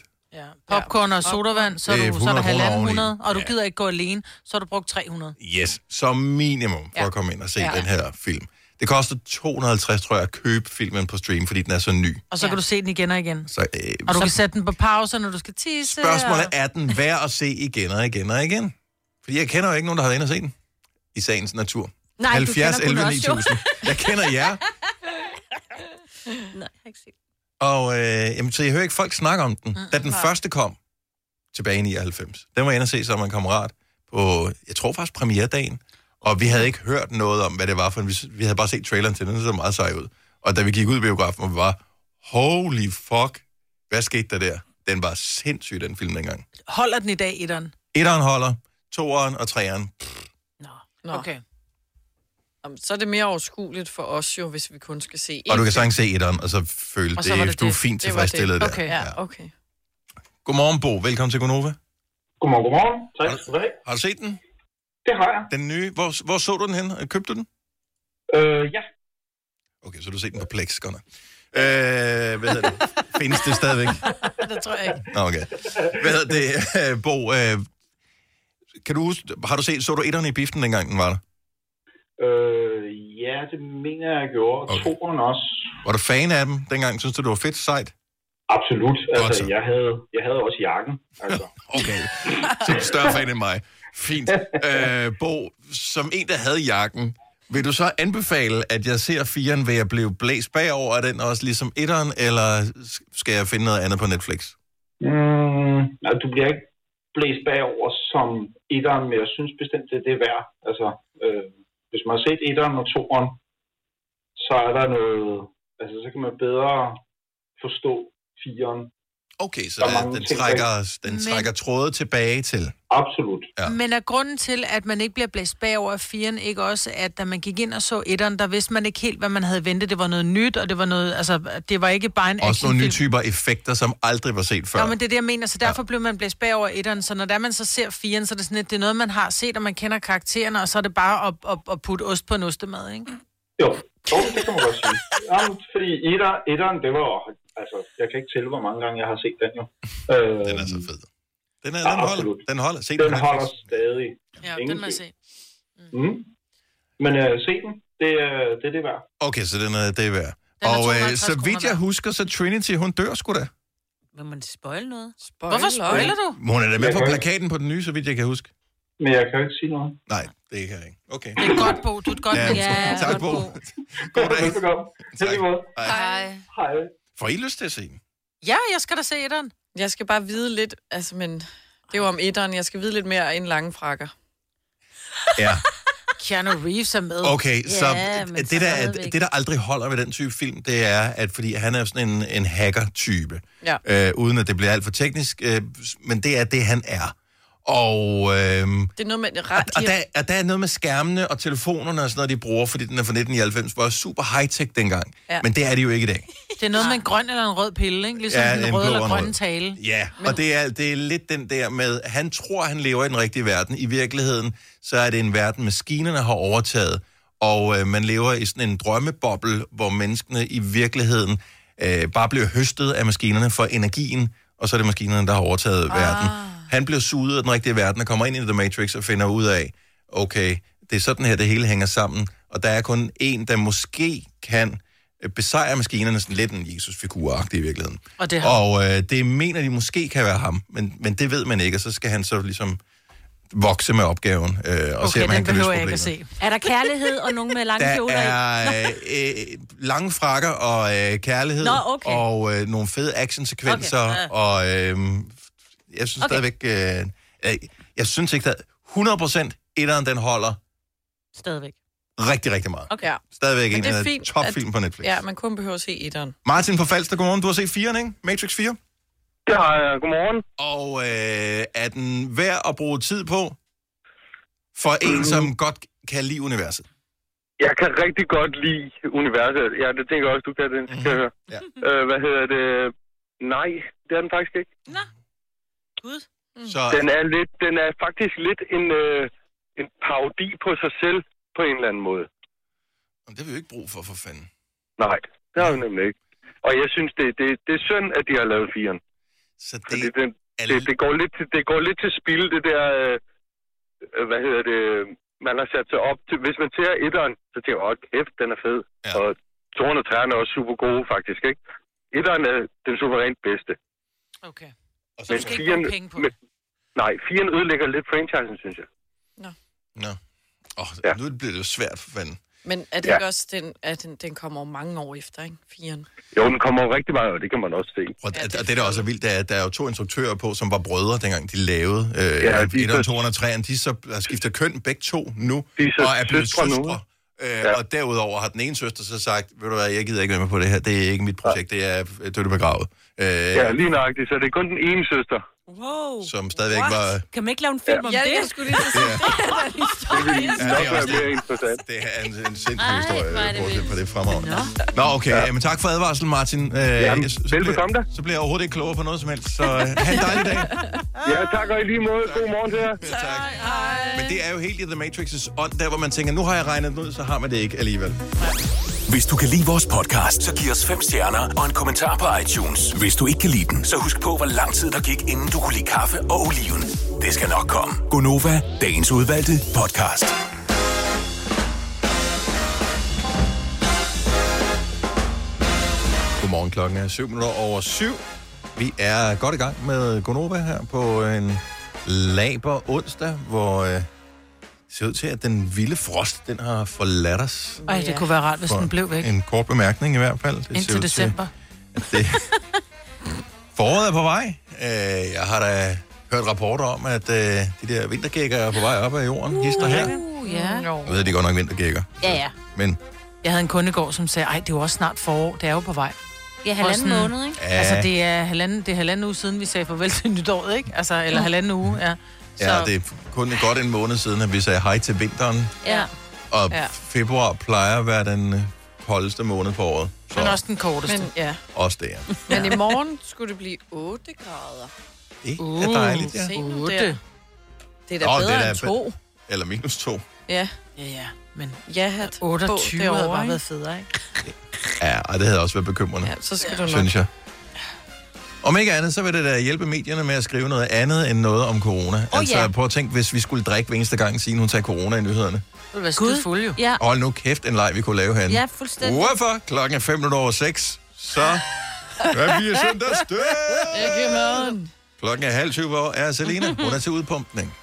S2: Popcorn og sodavand, så er,
S1: Det er
S2: du, så er der
S1: 100 kroner
S2: halvanden
S1: oveni.
S2: 100, og du
S1: Ja.
S2: gider ikke gå alene, så har du brugt 300.
S1: Yes, som minimum for
S2: Ja.
S1: at komme ind og se
S2: Ja.
S1: ja. den her film. Det koster 250, tror jeg, at købe filmen på stream, fordi den er så ny.
S2: Og så ja. kan du se den igen og igen.
S1: Så, øh,
S2: Og du
S1: så
S2: kan sætte den på pause, når du skal tisse.
S1: spørgsmålet
S2: og...
S1: er, den værd at se igen og igen og igen? Fordi jeg kender jo ikke nogen, der har været inde og se den. I sagens natur.
S3: Nej, du kender kun os jo.
S1: 9000. Jeg kender jer.
S3: Nej, jeg har ikke set
S1: Og øh, jamen, så jeg hører ikke folk snakke om den. Mm, da den
S3: nej.
S1: første kom tilbage i 99, den var jeg inde og se sammen med en kammerat på, jeg tror faktisk premieredagen. Og vi havde ikke hørt noget om, hvad det var, for vi, vi havde bare set traileren til den, den så meget sej ud. Og da vi gik ud i biografen, og vi var, holy fuck, hvad skete der der? Den var sindssyg, den film dengang.
S2: Holder den i dag, etteren?
S1: Etteren holder, toeren og treeren.
S4: Nå. Okay. Jamen, så er det mere overskueligt for os jo, hvis vi kun skal se
S1: Og du
S4: én
S1: kan
S4: film.
S1: sagtens se etteren, og så føle,
S4: Og
S1: det,
S4: så var
S1: det, du er fint
S4: Det var det.
S1: tilfredsstillet der.
S4: Okay, ja, okay.
S1: Godmorgen, Bo. Velkommen til Gonova.
S14: Godmorgen, godmorgen. Tak
S1: Har-
S14: skal du have.
S1: Har du set den?
S14: Det har jeg.
S1: Den nye. Hvor, hvor så du den hen? Købte du den?
S14: Øh, ja.
S1: Okay, så du har set den på Plex, godt nok. Øh, hvad hedder det? Findes det stadigvæk?
S2: det tror jeg ikke.
S1: Nå, okay. Hvad hedder det, Bo? Øh, kan du, huske- har du set, så du etterne i biften, dengang den var der?
S14: Øh, ja, det mener jeg, jeg gjorde. Okay. Toren også.
S1: Var du fan af dem dengang? Synes du, det var fedt sejt?
S14: Absolut.
S1: Godt
S14: Altså,
S1: så.
S14: jeg havde, jeg havde også jakken. Altså.
S1: okay. Så er du større fan end mig. Fint. Øh, Bo, som en, der havde jakken, vil du så anbefale, at jeg ser firen, vil jeg blive blæst bagover af den også, ligesom etteren, eller skal jeg finde noget andet på Netflix?
S14: Mm, nej, du bliver ikke blæst bagover som etteren, men jeg synes bestemt, det, det er værd. Altså, øh, hvis man har set etteren og toeren, så er der noget... Altså, så kan man bedre forstå firen.
S1: Okay, så der, den trækker, den trækker tråde tilbage til.
S14: Absolut.
S1: Ja.
S2: Men er grunden til, at man ikke bliver blæst bagover af firen, ikke også, at da man gik ind og så etteren, der vidste man ikke helt, hvad man havde ventet. Det var noget nyt, og det var noget, altså, det var ikke bare en
S1: Også nogle nye
S2: actionfilm.
S1: typer effekter, som aldrig var set før.
S2: Nå, men det er det, jeg mener, så derfor ja. blev man blæst bagover etteren, så når der man så ser firen, så er det sådan lidt, det er noget, man har set, og man kender karaktererne, og så er det bare at, at, at putte ost på en ostemad, ikke?
S14: Jo, jo det kan man godt sige. Jamen, fordi etter, etteren, det var... Altså, jeg kan ikke tælle, hvor mange gange jeg har set den jo. Øh, den
S1: er så fed. Den, er, den holder. Den holder. Se
S14: den
S1: den
S14: holder stadig.
S2: Ja,
S14: Ingen
S2: den må jeg se.
S14: tvivl. Mm. Men øh, se den. Det, øh, det er det værd.
S1: Okay, så den er, det er værd.
S14: Den er
S1: Og
S14: 250
S1: øh, så vidt jeg husker, så Trinity, hun dør sgu da.
S3: Vil man spoil noget? Spoiler.
S2: Hvorfor spoiler du?
S1: Hun er da med
S14: Jeg
S1: på
S14: kan ikke-
S1: plakaten på den nye, så vidt jeg kan huske.
S14: Men jeg kan jo ikke sige noget.
S1: Nej, det kan jeg ikke. Okay.
S2: Det er godt, Bo. Du er et godt menneske.
S1: ja, tak, Bo. God dag.
S14: Velbekomme.
S1: Tak.
S4: Hej.
S14: Hej.
S1: Får I lyst til at se den?
S2: Ja, jeg skal da se etteren.
S4: Jeg skal bare vide lidt, altså, men det er jo om etteren. Jeg skal vide lidt mere end lange frakker.
S1: Ja.
S2: Keanu Reeves er med.
S1: Okay, så det, det, der, det, der aldrig holder ved den type film, det er, at fordi han er sådan en, en hacker-type.
S4: Ja.
S1: øh, uden at det bliver alt for teknisk, øh, s- men det er det, han er. Og, øhm,
S4: Det er noget med det ret.
S1: og der, og der er noget med skærmene og telefonerne og sådan noget, de bruger, fordi den er fra 1999, var super high-tech dengang.
S2: Ja.
S1: Ja. Men det er det jo ikke i dag.
S2: Det er noget med en grøn eller en rød pille, ikke? Ligesom
S1: Ja,
S2: ja, en
S1: en
S2: rød
S1: blå
S2: eller
S1: og en
S2: grøn
S1: rød.
S2: tale.
S1: Ja, og det er, det er lidt den der med, han tror, han lever i den rigtige verden. I virkeligheden, så er det en verden, maskinerne har overtaget, og øh, man lever i sådan en drømmeboble, hvor menneskene i virkeligheden øh, bare bliver høstet af maskinerne for energien, og så er det maskinerne, der har overtaget ah. verden. Han bliver suget af den rigtige verden og kommer ind i The Matrix og finder ud af, okay, det er sådan her, det hele hænger sammen, og der er kun en, der måske kan øh, besejre maskinerne sådan lidt en Jesus-figur i virkeligheden.
S2: Og det har
S1: Og øh, det mener de måske kan være ham, men, men det ved man ikke, og så skal han så ligesom vokse med opgaven, øh, og okay, se, om han kan løse problemet.
S3: Er der kærlighed og nogen med lange
S1: Der
S3: kjoler i?
S1: er øh, øh, lange frakker og øh, kærlighed,
S3: Nå, okay.
S1: og øh, nogle fede actionsekvenser,
S3: Okay, ja.
S1: okay. og øh, jeg synes
S3: Okay.
S1: okay. stadigvæk, øh, øh, jeg synes ikke, at 100% etteren, den holder
S3: Stadigvæk.
S1: rigtig, rigtig meget.
S3: Okay. Ja.
S1: Stadigvæk
S4: Men
S1: en
S4: det er
S1: af
S4: fint,
S1: topfilm
S4: at-
S1: på Netflix.
S4: Ja, man kun behøver at se etteren.
S1: Martin på Falster, godmorgen. Du har set 4'eren, ikke? Matrix 4?
S13: Det har jeg. Godmorgen.
S1: Og øh, er den værd at bruge tid på for en, som godt kan lide universet?
S13: Jeg kan rigtig godt lide universet. Ja, det tænker jeg også, du kan det. Skal jeg høre.
S1: Mhm. Ja.
S13: Øh, hvad hedder det? Nej, det er den faktisk ikke.
S3: Gud.
S1: Så...
S13: Den, er lidt, den er faktisk lidt en, øh, en parodi på sig selv på en eller anden måde.
S1: Jamen, det har vi jo ikke brug for, for fanden.
S13: Nej, det har vi nemlig ikke. Og jeg synes, det, det, det er synd, at de har lavet firen.
S1: Så det,
S13: Fordi den, det, det, går lidt, til- det går lidt til spil, det der... Øh, øh, hvad hedder det? Man har sat sig op til... Hvis man ser etteren, så tænker jeg, åh, kæft, den er fed. Ja. Og 230 er også super gode, faktisk, ikke? Etteren er den suverænt bedste.
S2: Okay.
S13: Og
S2: så du skal ikke bruge penge på
S13: men, Nej, firen ødelægger lidt franchisen, synes jeg.
S1: Nå. Åh, oh, ja. nu bliver det jo svært, for fanden.
S4: Men er det
S13: Ja.
S4: ja. ikke også, den, at den, den kommer over mange år efter, ikke? Firen.
S13: Jo, den kommer jo rigtig meget, og det kan man også se.
S1: Og, ja, det, og det, der også er vildt, det er, at der er jo to instruktører på, som var brødre, dengang de lavede øh,
S13: Ja,
S1: ja,
S13: de er
S1: 1 og
S13: så-
S1: 2 og 3, de så har skiftet køn begge to nu,
S13: De er så
S1: og er blevet
S13: søstre
S1: søstre.
S13: nu.
S1: søstre. Øh, Og derudover har den ene søster så sagt, ved du hvad, jeg gider ikke være med på det her, det er ikke mit projekt, det er øh, dødt og begravet. Øh,
S13: Ja, lige nøjagtigt. Så det er kun den ene søster.
S3: Wow.
S1: Som stadigvæk var-
S3: Kan man ikke lave en film ja. om
S4: Ja,
S3: det?
S4: jeg skulle lige så
S1: sige,
S13: Ja, det er også mere interessant.
S1: Det er en, en sindssyg historie, bortset fra det fremragende. Nå, okay. Ja. Jamen, tak for advarsel, Martin. Øh,
S13: Jamen,
S1: jeg- så, så
S13: velbekomme
S1: bliver, så bliver jeg overhovedet ikke klogere på noget som helst. Så øh, have en dejlig dag.
S13: Ja, tak og i lige måde. God morgen til jer.
S1: Tak. Men det er jo helt i The Matrix's ånd, der hvor man tænker, nu har jeg regnet den ud, så har man det ikke alligevel.
S12: Hvis du kan lide vores podcast, så giv os fem stjerner og en kommentar på iTunes. Hvis du ikke kan lide den, så husk på, hvor lang tid der gik, inden du kunne lide kaffe og oliven. Det skal nok komme.
S5: Gonova,
S12: Dagens udvalgte podcast.
S1: Godmorgen, klokken er 7 minutter over 7. Vi er godt i gang med Gonova her på en laber onsdag, hvor øh, det ser ud til, at den vilde frost, den har forladt os.
S2: Ej, det kunne være rart, hvis
S1: For
S2: den blev væk.
S1: En kort bemærkning i hvert fald. Det ser ud
S2: Indtil
S1: til,
S2: december.
S1: at det... Foråret er på vej. Øh, jeg har da hørt rapporter om, at øh, de der vintergækker er på vej op ad jorden. Uh, hister her.
S2: Uh, ja.
S1: Jeg ved, de godt nok vintergækker.
S3: Ja, ja.
S1: Men
S2: Jeg havde en kunde i går, som sagde, ej, det er jo også snart forår, det er jo på vej.
S3: Ja, halvanden
S2: Hvor
S3: måned, ikke?
S1: Ja.
S2: Altså, det er halvanden, det er halvanden uge siden, vi sagde farvel til nytåret, ikke? Altså, eller halvanden uge, ja.
S1: ja, det er kun godt en måned siden, at vi sagde hej til vinteren.
S2: ja.
S1: Og
S2: Ja.
S1: ja. februar plejer at være den øh, koldeste måned på året. Så
S2: Men også den korteste.
S4: Men, ja.
S1: også det er.
S4: Men i morgen skulle det blive 8 grader.
S1: Det er dejligt, Uh, ja.
S4: Uh, Se nu der. Det er da
S1: Nå,
S4: bedre
S1: da
S4: end to.
S1: Eller minus to.
S4: Ja.
S2: Ja, ja. Men
S4: ja, hat
S2: 28
S4: på
S2: havde
S4: derovre,
S2: bare
S4: ikke?
S2: været federe, ikke?
S1: Ja, og det havde også været bekymrende.
S4: Ja, så skal du nok-
S1: Synes jeg. Om ikke andet, så vil det da hjælpe medierne med at skrive noget andet end noget om corona.
S3: Åh,
S1: altså,
S3: ja.
S1: prøv at tænke, hvis vi skulle drikke hver eneste gang, siden hun tager corona i nyhederne.
S2: Det ville være skide fuld, jo.
S3: Ja.
S1: Hold nu kæft, en leg, vi kunne lave herinde.
S3: Ja, fuldstændig.
S1: Hvorfor? Klokken er 5 minutter over 6. Så er vi i søndagsdød.
S4: Ikke maden.
S1: Klokken er halv 20 år, er Selina. Hun er til udpumpning.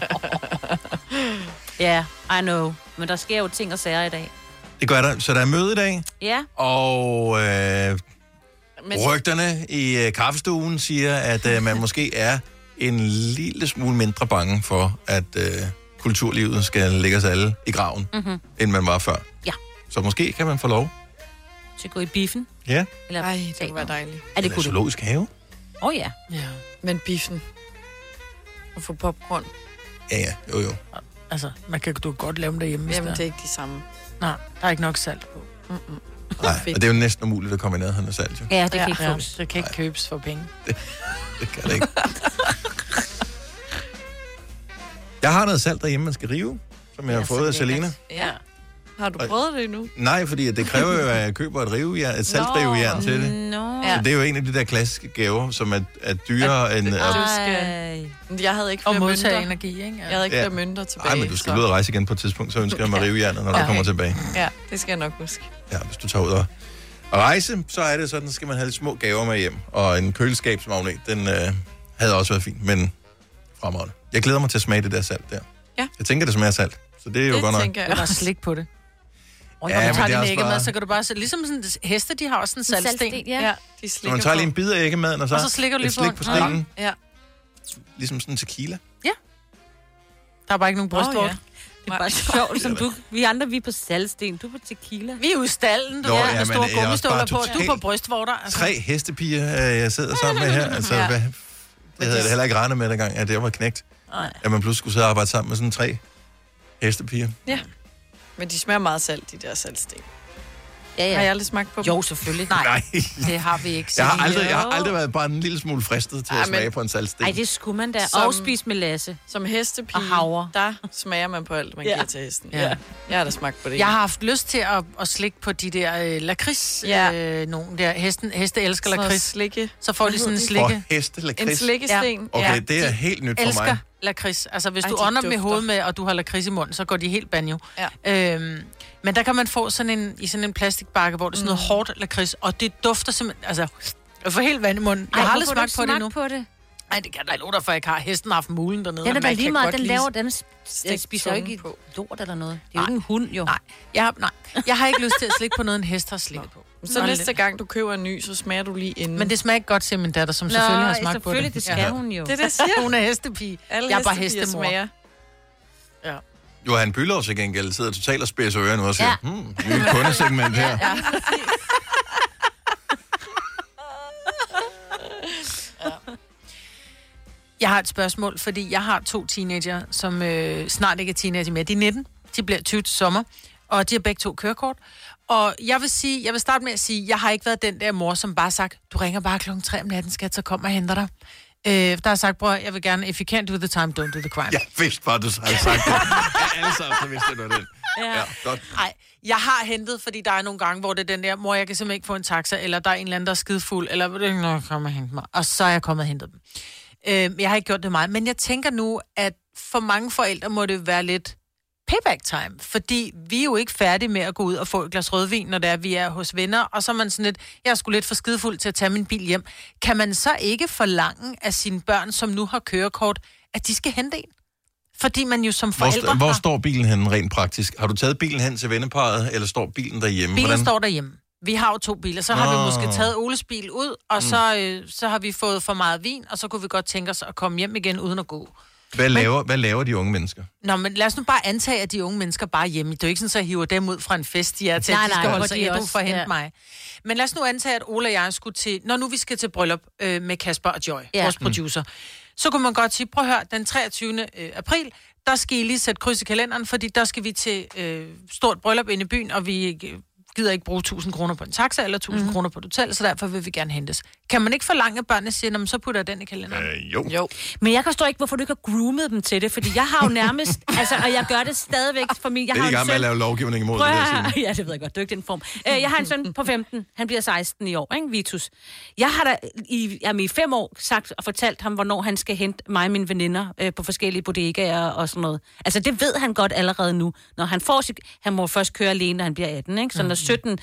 S3: Ja, I know. Men der sker jo ting og sager i dag.
S1: Det gør der. Så der er møde i dag,
S3: Ja.
S1: og øh,
S3: Men...
S1: rygterne i øh, kaffestuen siger, at øh, man måske er en lille smule mindre bange for, at øh, kulturlivet skal lægge os alle i graven,
S3: Mhm.
S1: end man var før.
S3: Ja.
S1: Så måske kan man få lov.
S3: Så gå i biffen.
S1: Ja.
S3: Eller Ej, det kunne være
S4: dejligt.
S3: Er det
S1: Eller
S3: kunne du?
S1: zoologisk have.
S3: Åh oh, ja.
S4: Ja. Men biffen. og få popcorn.
S1: Ja, ja, jo, jo.
S2: Altså, man kan, du kan godt lave dem derhjemme.
S4: Jamen, det er ikke de samme.
S2: Nej, der er ikke nok salt på. Mm-mm.
S1: Nej, og det er jo næsten umuligt at komme i nærheden af salt, jo.
S2: Ja, det kan ikke købes. Det kan ikke købes for penge.
S1: Det kan det ikke. Jeg har noget salt derhjemme, man skal rive, som jeg har fået af Selina.
S4: Ja. Har du prøvet det endnu?
S1: Nej, fordi at det kræver jo, at jeg køber et, rivejern, et saltrivejern til det.
S4: No.
S1: Så det er jo en af de der klassiske gaver, som er, er dyrere end... øh,
S4: Du skal... Jeg havde ikke flere
S2: Og modtage
S4: mønter.
S2: energi, ikke?
S4: Jeg havde ikke flere mønter tilbage.
S1: Nej, men du skal
S4: så-
S1: ud og rejse igen på et tidspunkt, så ønsker jeg mig rivejernet, når du
S4: Ja.
S1: kommer tilbage.
S4: Ja, det skal jeg nok huske.
S1: Ja, hvis du tager ud og, og rejse, så er det sådan, skal man have lidt små gaver med hjem. Og en køleskabsmagnet, den øh, havde også været fin, men fremragende. Jeg glæder mig til at smage det der salt der.
S4: Ja.
S1: Jeg tænker, det smager af salt, så det er jo godt nok.
S2: Du har slik på det. Og når
S1: Ja,
S2: ja,
S1: men
S2: man tager
S1: det er
S2: din
S1: også
S2: æggemad,
S1: bare-
S2: så kan du bare... sætte- Ligesom sådan, heste, de har også en saltsten. saltsten
S4: ja. de
S1: Så man tager lige en bid af æggemaden, og så,
S2: Og så slikker du
S1: lidt
S2: lige på
S1: slik på,
S2: den.
S1: stenen.
S4: Ja.
S1: Ligesom sådan en tequila.
S2: Der er bare ikke nogen
S3: Åh,
S2: brystvort.
S3: ja. Det er bare sjovt, som du... Vi andre, vi er på saltsten, du er på tequila.
S2: Vi er ude i stallen,
S1: du Nå, ved, med ja, men store jeg er også gummistøvler bare på, og du er på totalt-
S2: brystvorter.
S1: Altså- Tre hestepiger, øh, jeg sidder sammen med her. Altså,
S2: Ja.
S1: hvad, det havde jeg da heller ikke regnet med, dengang at jeg var knægt.
S4: Nej.
S1: At man pludselig skulle sidde og arbejde sammen med sådan tre hestepiger.
S4: Ja. Men de smager meget salt, de der saltsten.
S3: Ja, ja.
S4: Har jeg aldrig smagt på dem?
S3: Jo, selvfølgelig.
S2: Nej.
S1: Nej.
S2: Det har vi ikke.
S1: Jeg har,
S2: Selina.
S1: aldrig, jeg har aldrig været bare en lille smule fristet til
S4: Ej,
S1: at
S4: men-
S1: smage på en saltsten.
S3: Ej, det skulle man da.
S4: Som-
S3: Og spis med Lasse.
S4: Som hestepige,
S3: Og havre.
S4: der smager man på alt, man
S2: Ja.
S4: giver til hesten.
S2: Ja.
S4: Jeg har da smagt på det.
S2: Jeg har haft lyst til at, at slikke på de der øh, lakrids, ja. øh, nogen der. Hesten, heste elsker
S4: Sådan noget
S2: lakrids.
S4: slikke.
S2: Så får de
S4: Hvad
S2: sådan en
S4: hedder
S2: slikke.
S1: Og hestelakrids.
S2: En slikkesten.
S1: Ja. Okay, det er helt nyt for
S2: elsker
S1: mig.
S2: lakrids. Altså, hvis
S4: Ej,
S2: Ej, du
S4: de
S2: ånder dem i
S4: dufter.
S2: hovedet med, og du har lakrids i munden, så går de helt banjo. Ja. Øhm, men der kan man få sådan en, i sådan en plastikbakke, hvor det er sådan noget
S3: Mm.
S2: hårdt lakrids, og det dufter simpelthen... Altså, jeg får helt vand i munden. Jeg
S3: Ej,
S2: har aldrig
S3: hvorfor har du
S2: smagt på det
S3: ikke
S2: endnu.
S3: smagt på det?
S2: Nej, det kan jeg da love dig, for jeg ikke har hesten har haft mulen dernede.
S3: Den er
S2: og
S3: da
S2: man
S3: lige
S2: kan
S3: meget,
S2: godt
S3: den
S2: lide-
S3: laver, den s-
S2: Stik
S3: spiser jo
S2: tungen
S3: ikke
S2: på.
S3: lort eller noget. Det er jo ikke en hund, jo.
S2: Nej, jeg har, nej. jeg har ikke lyst til at slikke på noget, en hest har slikket på.
S4: Så næste gang, du køber en ny, så smager du lige inden.
S2: Men det smager ikke godt, siger min datter, som
S4: Nå,
S2: selvfølgelig har smagt på det.
S4: selvfølgelig, det skal hun jo. Det er det, jeg siger.
S2: Hun er hestepige.
S4: Alle
S2: jeg er bare
S4: hestepiger
S2: hestemor.
S4: smager.
S1: Johan Bylov til gengæld sidder totalt og spidser ørerne og siger,
S2: Ja.
S1: ja. hmm, nye kundesegment her.
S2: Ja. Jeg har et spørgsmål, fordi jeg har to teenager, som øh, snart ikke er teenager mere. De er 19, de bliver 20 til sommer, og de har begge to kørekort. Og jeg vil, sige, jeg vil starte med at sige, jeg har ikke været den der mor, som bare har sagt, du ringer bare klokken 3 om natten, skat, så kom og henter dig. Øh, der har jeg sagt, bror, jeg vil gerne, if you can't do the time, don't do the crime.
S1: Jeg vidste bare, du havde sagt det. Ja, alle sammen, så vidste jeg, det var den. Ja, godt.
S2: Nej, jeg har hentet, fordi der er nogle gange, hvor det er den der, mor, jeg kan simpelthen ikke få en taxa, eller der er en eller anden, der er skidefuld, eller vil du ikke nok komme og hente mig? Og så er jeg kommet og hentet dem. Øh, jeg har ikke gjort det meget, men jeg tænker nu, at for mange forældre må det være lidt payback time, fordi vi er jo ikke færdige med at gå ud og få et glas rødvin, når det er, vi er hos venner, og så er man sådan lidt, jeg er sgu lidt for skidefuld til at tage min bil hjem. Kan man så ikke forlange af sine børn, som nu har kørekort, at de skal hente en? Fordi man jo som
S1: Hvor,
S2: forældre
S1: st- hvor
S2: har...
S1: står bilen henne rent praktisk? Har du taget bilen hen til venneparet, eller står bilen derhjemme?
S2: Bilen står derhjemme. Vi har jo to biler. Så har
S1: Nå. Mm.
S2: vi måske taget Oles bil ud, og så, øh, så har vi fået for meget vin, og så kunne vi godt tænke os at komme hjem igen uden at gå.
S1: Hvad laver, hvad laver de unge mennesker?
S2: Nå, men lad os nu bare antage, at de unge mennesker bare er hjemme. Det er jo ikke sådan, så jeg hiver dem ud fra en fest, de er til,
S3: Nej,
S2: at de
S3: nej,
S2: skal
S3: hvor
S2: holde sig
S3: de
S2: ædru
S3: også-
S2: for at hente
S3: ja.
S2: ja. mig. Men lad os nu antage, at Ole og jeg skulle til... Når nu vi skal til bryllup øh, med Kasper og Joy,
S3: Ja.
S2: ja. vores
S3: Mm.
S2: producer, så kunne man godt sige, prøv at høre, den 23. øh, april, der skal I lige sætte kryds i kalenderen, fordi der skal vi til øh, stort bryllup inde i byen, og vi øh, gider ikke bruge 1000 kroner på en taxa eller 1000 mm. kroner på et hotel, så derfor vil vi gerne hentes. Kan man ikke forlange, at børnene siger, "Nå, men så putter jeg den i kalenderen?
S1: Øh, jo.
S2: jo.
S3: Men jeg forstår ikke, hvorfor du ikke har groomet dem til det, fordi jeg har jo nærmest, altså, og jeg gør det stadigvæk for min... Jeg
S1: det er
S3: har
S1: i
S3: jo
S1: gang
S3: en
S1: med
S3: søn-
S1: at lave lovgivning imod
S3: Prøv
S1: det
S3: at-
S1: der, Signe.
S3: Ja, det ved jeg godt. Du er ikke den form. Øh, jeg har en søn på 15. Han bliver 16 i år, ikke? Vi er tus. Jeg har da i, jamen, i fem år sagt og fortalt ham, hvornår han skal hente mig og mine veninder øh, på forskellige bodegaer og sådan noget. Altså, det ved han godt allerede nu. Når han får sit... Han må først køre alene, når han bliver 18, ikke? Så når 17,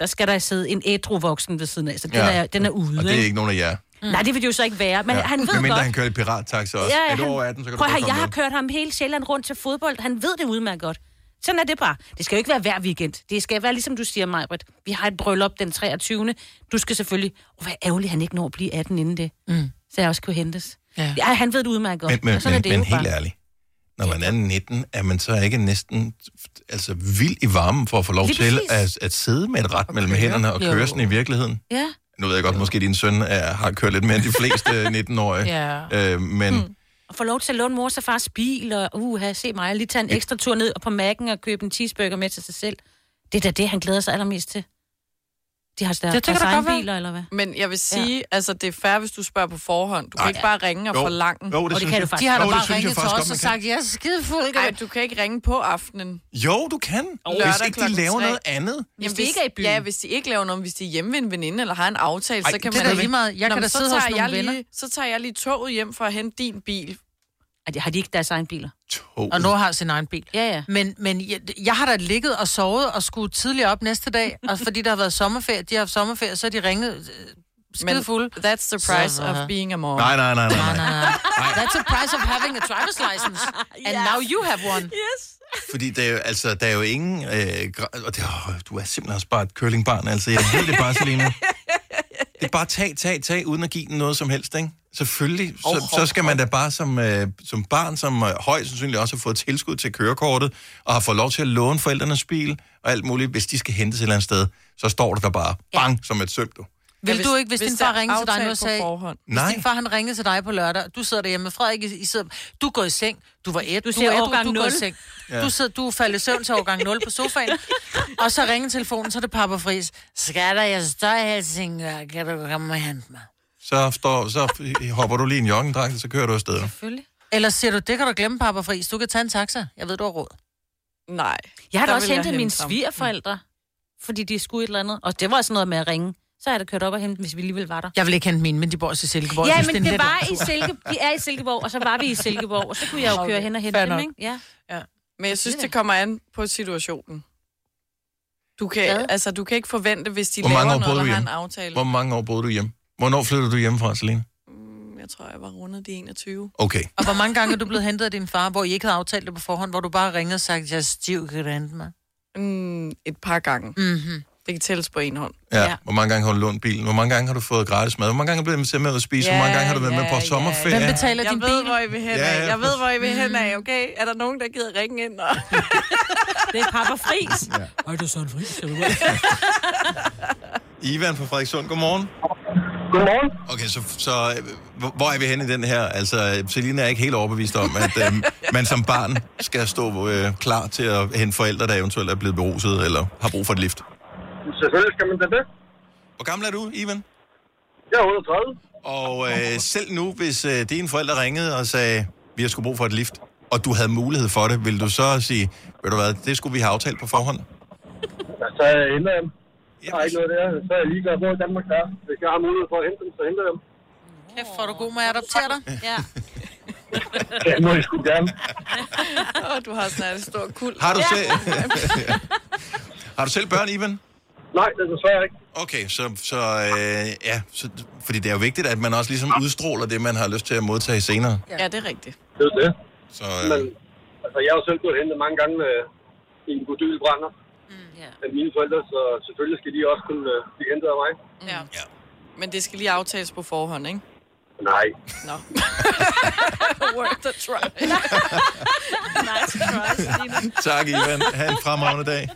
S3: der skal der sidde en ædru-voksen ved siden af. Så den,
S1: Ja.
S3: ja. er, den er ude,
S1: Og det er ikke nogen af jer.
S3: Mm. Nej, det vil det jo så ikke være. Men ja. han ved
S1: Medmindre
S3: godt...
S1: han kører i pirattaxa også. Ja, er du over 18, så kan
S3: prøv at
S1: du godt
S3: høre,
S1: komme
S3: jeg har
S1: med.
S3: kørt ham hele Sjælland rundt til fodbold. Han ved det udmærket godt. Sådan er det bare. Det skal jo ikke være hver weekend. Det skal være, ligesom du siger, Majbrit. Vi har et bryllup den 23. Du skal selvfølgelig... Åh, hvor ærgerligt, han ikke når at blive 18 inden det.
S2: Mm.
S3: Så jeg også kunne hentes.
S2: Ja.
S3: ja han ved det udmærket godt.
S1: Men, men,
S3: Og sådan er
S1: men,
S3: det
S1: men
S3: jo
S1: helt
S3: bare.
S1: ærligt, når man er 19, er man så ikke næsten altså, vild i varmen for at få lov
S3: Lige
S1: til
S3: præcis.
S1: at, at sidde med et ret mellem hænderne og
S2: Jo.
S1: køre sådan i virkeligheden?
S3: Ja.
S1: Nu ved jeg godt, måske din søn er, har kørt lidt mere end de fleste 19-årige,
S2: Ja.
S3: Hmm.
S1: øh, men, mm.
S3: Og få lov til at låne mors og fars bil, og uha, se mig, lige tage en ekstra tur ned på Mac'en og købe en cheeseburger med til sig selv. Det er da det, han glæder sig allermest til. De har deres,
S4: Det- det kan
S3: deres
S4: da godt
S3: egen
S4: være.
S3: biler, eller hvad?
S4: Men jeg vil sige, ja. altså det er fair, hvis du spørger på forhånd. Du Nej.
S3: Nej.
S4: kan ikke bare ringe og
S3: Jo.
S4: forlange.
S1: Jo, det Og det synes kan jeg. du faktisk.
S4: De har da
S1: Jo, det
S4: bare
S1: synes jeg
S4: ringet til
S1: faktisk
S4: os
S1: godt,
S4: og
S1: man
S4: sagt,
S2: jeg er skide fuld.
S4: Nej, du kan ikke ringe på aftenen.
S1: Jo, du kan, hvis
S4: Lørdag
S1: ikke de
S4: klokken
S1: laver
S4: tre.
S1: noget andet.
S4: Jamen, hvis, ikke er i byen. Ja, hvis de ikke laver noget, hvis de er hjemme ved en veninde, eller har en aftale,
S1: Ej,
S4: så kan
S1: det er
S4: man...
S1: da lige meget.
S2: Jeg kan
S4: men
S2: da
S4: så
S2: sidde hos
S4: tager
S2: nogle
S4: jeg
S2: venner.
S4: Lige, så tager jeg lige toget hjem for at hente din bil.
S3: Og de har de ikke deres egen biler?
S1: Oh.
S2: Og nu har sin egen bil.
S3: Ja, ja.
S2: Men, men jeg, jeg har da ligget og sovet og skulle tidligere op næste dag, og fordi der har været sommerferie, de har haft sommerferie, så er de ringet øh, skide
S4: Men
S2: fulde.
S4: That's the price of being a mom.
S1: Nej, nej, nej, nej, nej.
S2: That's the price of having a driver's license. And yes. now you have one.
S3: Yes.
S1: Fordi der, er jo- altså, der er jo ingen... Øh, gra- og det, åh, du er simpelthen også bare et curlingbarn, altså. Jeg ved det bare, Selina. Det er bare tag, tag, tag, uden at give den noget som helst, ikke? Selvfølgelig. Så,
S15: Åh,
S1: oh, så skal man da bare som, øh, som barn, som øh, højst sandsynligt også har fået tilskud til kørekortet, og har fået lov til at låne forældrenes bil og alt muligt, hvis de skal hentes et eller andet sted, så står der der bare bang, som et søm, du.
S2: Vil
S4: Ja,
S2: hvis, du ikke, hvis, hvis din
S4: der
S2: far
S4: er
S2: ringede til dig nu
S4: aftale
S2: og
S4: på
S2: sagde...
S4: forhånd.
S2: Hvis
S1: Nej.
S2: din far han ringede til dig på lørdag, du sidder derhjemme, Frederik, I, I sidder, du går i seng, du var et, du,
S3: ser
S2: er ædru,
S3: årgang
S2: du går i
S3: nul.
S2: seng.
S3: Ja.
S2: Ja. Du, sidder, du falder i søvn til årgang 0 på sofaen, og så ringer telefonen, så er det pappa Friis. Skatter, jeg står i Helsingør, kan du komme og hente mig?
S1: Så, står, så hopper du lige i en joggendragt, og så kører du afsted.
S2: Eller siger du, det kan du glemme, pappa Friis, du kan tage en taxa, jeg ved, du har råd.
S4: Nej.
S3: Jeg har da
S2: Der
S3: også
S2: vil jeg
S3: hentet
S2: hente
S3: mine
S2: ham.
S3: svigerforældre, fordi de skulle et eller andet. Og det var også noget med at ringe. Så har jeg da kørt op og hentet dem, hvis vi alligevel var der.
S2: Jeg vil ikke hente mine, men de bor også i Silkeborg. Jeg
S3: Ja,
S2: synes,
S3: men
S2: er en
S3: det
S2: lidt
S3: var
S2: lang
S3: i
S2: tur.
S3: Silke, de er i Silkeborg, og så var vi i Silkeborg, og så kunne jeg jo
S4: Okay,
S3: køre hen og hente
S4: fair
S3: dem,
S4: nok.
S3: ikke? Ja.
S4: Ja. Men jeg synes, det kommer an på situationen. Du kan, altså, du kan ikke forvente, hvis de
S1: Hvor
S4: laver
S1: mange år
S4: noget,
S1: boede
S4: der
S1: du
S4: har en
S1: hjemme?
S4: aftale.
S1: Hvor mange år boede du hjemme? Hvornår flyttede du hjemmefra, Selina?
S4: Mm, Jeg tror, jeg var rundet de 21.
S1: Okay.
S2: Og hvor mange gange er du blevet hentet af din far, hvor I ikke havde aftalt det på forhånd, hvor du bare ringede og sagde, jeg er stiv, kan du hente mig?
S4: Mm, et par gange.
S2: Mm-hmm.
S4: Det kan tælles på en hånd.
S1: Ja. ja. Hvor mange gange har du lånt bilen? Hvor mange gange har du fået gratis mad? Hvor mange gange er du blevet inviteret med ud at spise? Hvor mange gange har du været med på sommerferie?
S2: Hvem betaler
S4: jeg
S2: din
S4: ved,
S2: bil?
S4: hvor I vil hen
S1: Ja,
S4: af.
S1: ja,
S4: Jeg ved, hvor I vil hen af, okay? Er der nogen, der gider ringe ind? Og...
S3: det er pappa Fris.
S1: Ja.
S3: Ej, det er Søren Friis.
S1: Ivan fra Frederikssund, godmorgen.
S13: Godmorgen.
S1: Okay, så, så øh, hvor- hvor er vi henne i den her? Altså, Selina er ikke helt overbevist om, at øh, man som barn skal stå øh, klar til at hente forældre, der eventuelt er blevet beruset eller har brug for et lift.
S13: Selvfølgelig skal man da det.
S1: Hvor gammel er du, Ivan?
S13: Jeg er 38.
S1: Og øh, selv nu, hvis øh, dine forældre ringede og sagde, vi har sgu brug for et lift, og du havde mulighed for det, ville du så sige, ved du hvad, det skulle vi have aftalt på forhånd?
S13: Så er jeg ender dem. Jeg har ikke noget der. Så er jeg lige hvor i Danmark der. er. Hvis jeg har mulighed for at hente dem, så henter jeg dem.
S2: Kæft, hvor er du god med at adoptere dig. Ja.
S13: Ja, må jeg sgu gerne.
S4: Åh, du har snart et stort kul.
S1: Har du, ja. selv, har du selv børn, Ivan?
S13: Nej, det er desværre ikke.
S1: Okay, så, så øh, ja, så, fordi det er jo vigtigt, at man også ligesom udstråler det, man har lyst til at modtage senere.
S4: Ja, det er rigtigt.
S13: Det er det.
S1: Så,
S13: Men
S1: øh,
S13: altså, jeg har jo selv gået hentet mange gange med en godyl brænder.
S2: Mm,
S13: Af mine forældre, så selvfølgelig skal de også kunne øh, blive hentet af mig.
S4: Ja. Men det skal lige aftales på forhånd, ikke?
S13: Nej.
S4: Nå. Worth a try. nice try, Stine.
S1: tak, Ivan. Ha' en fremragende dag.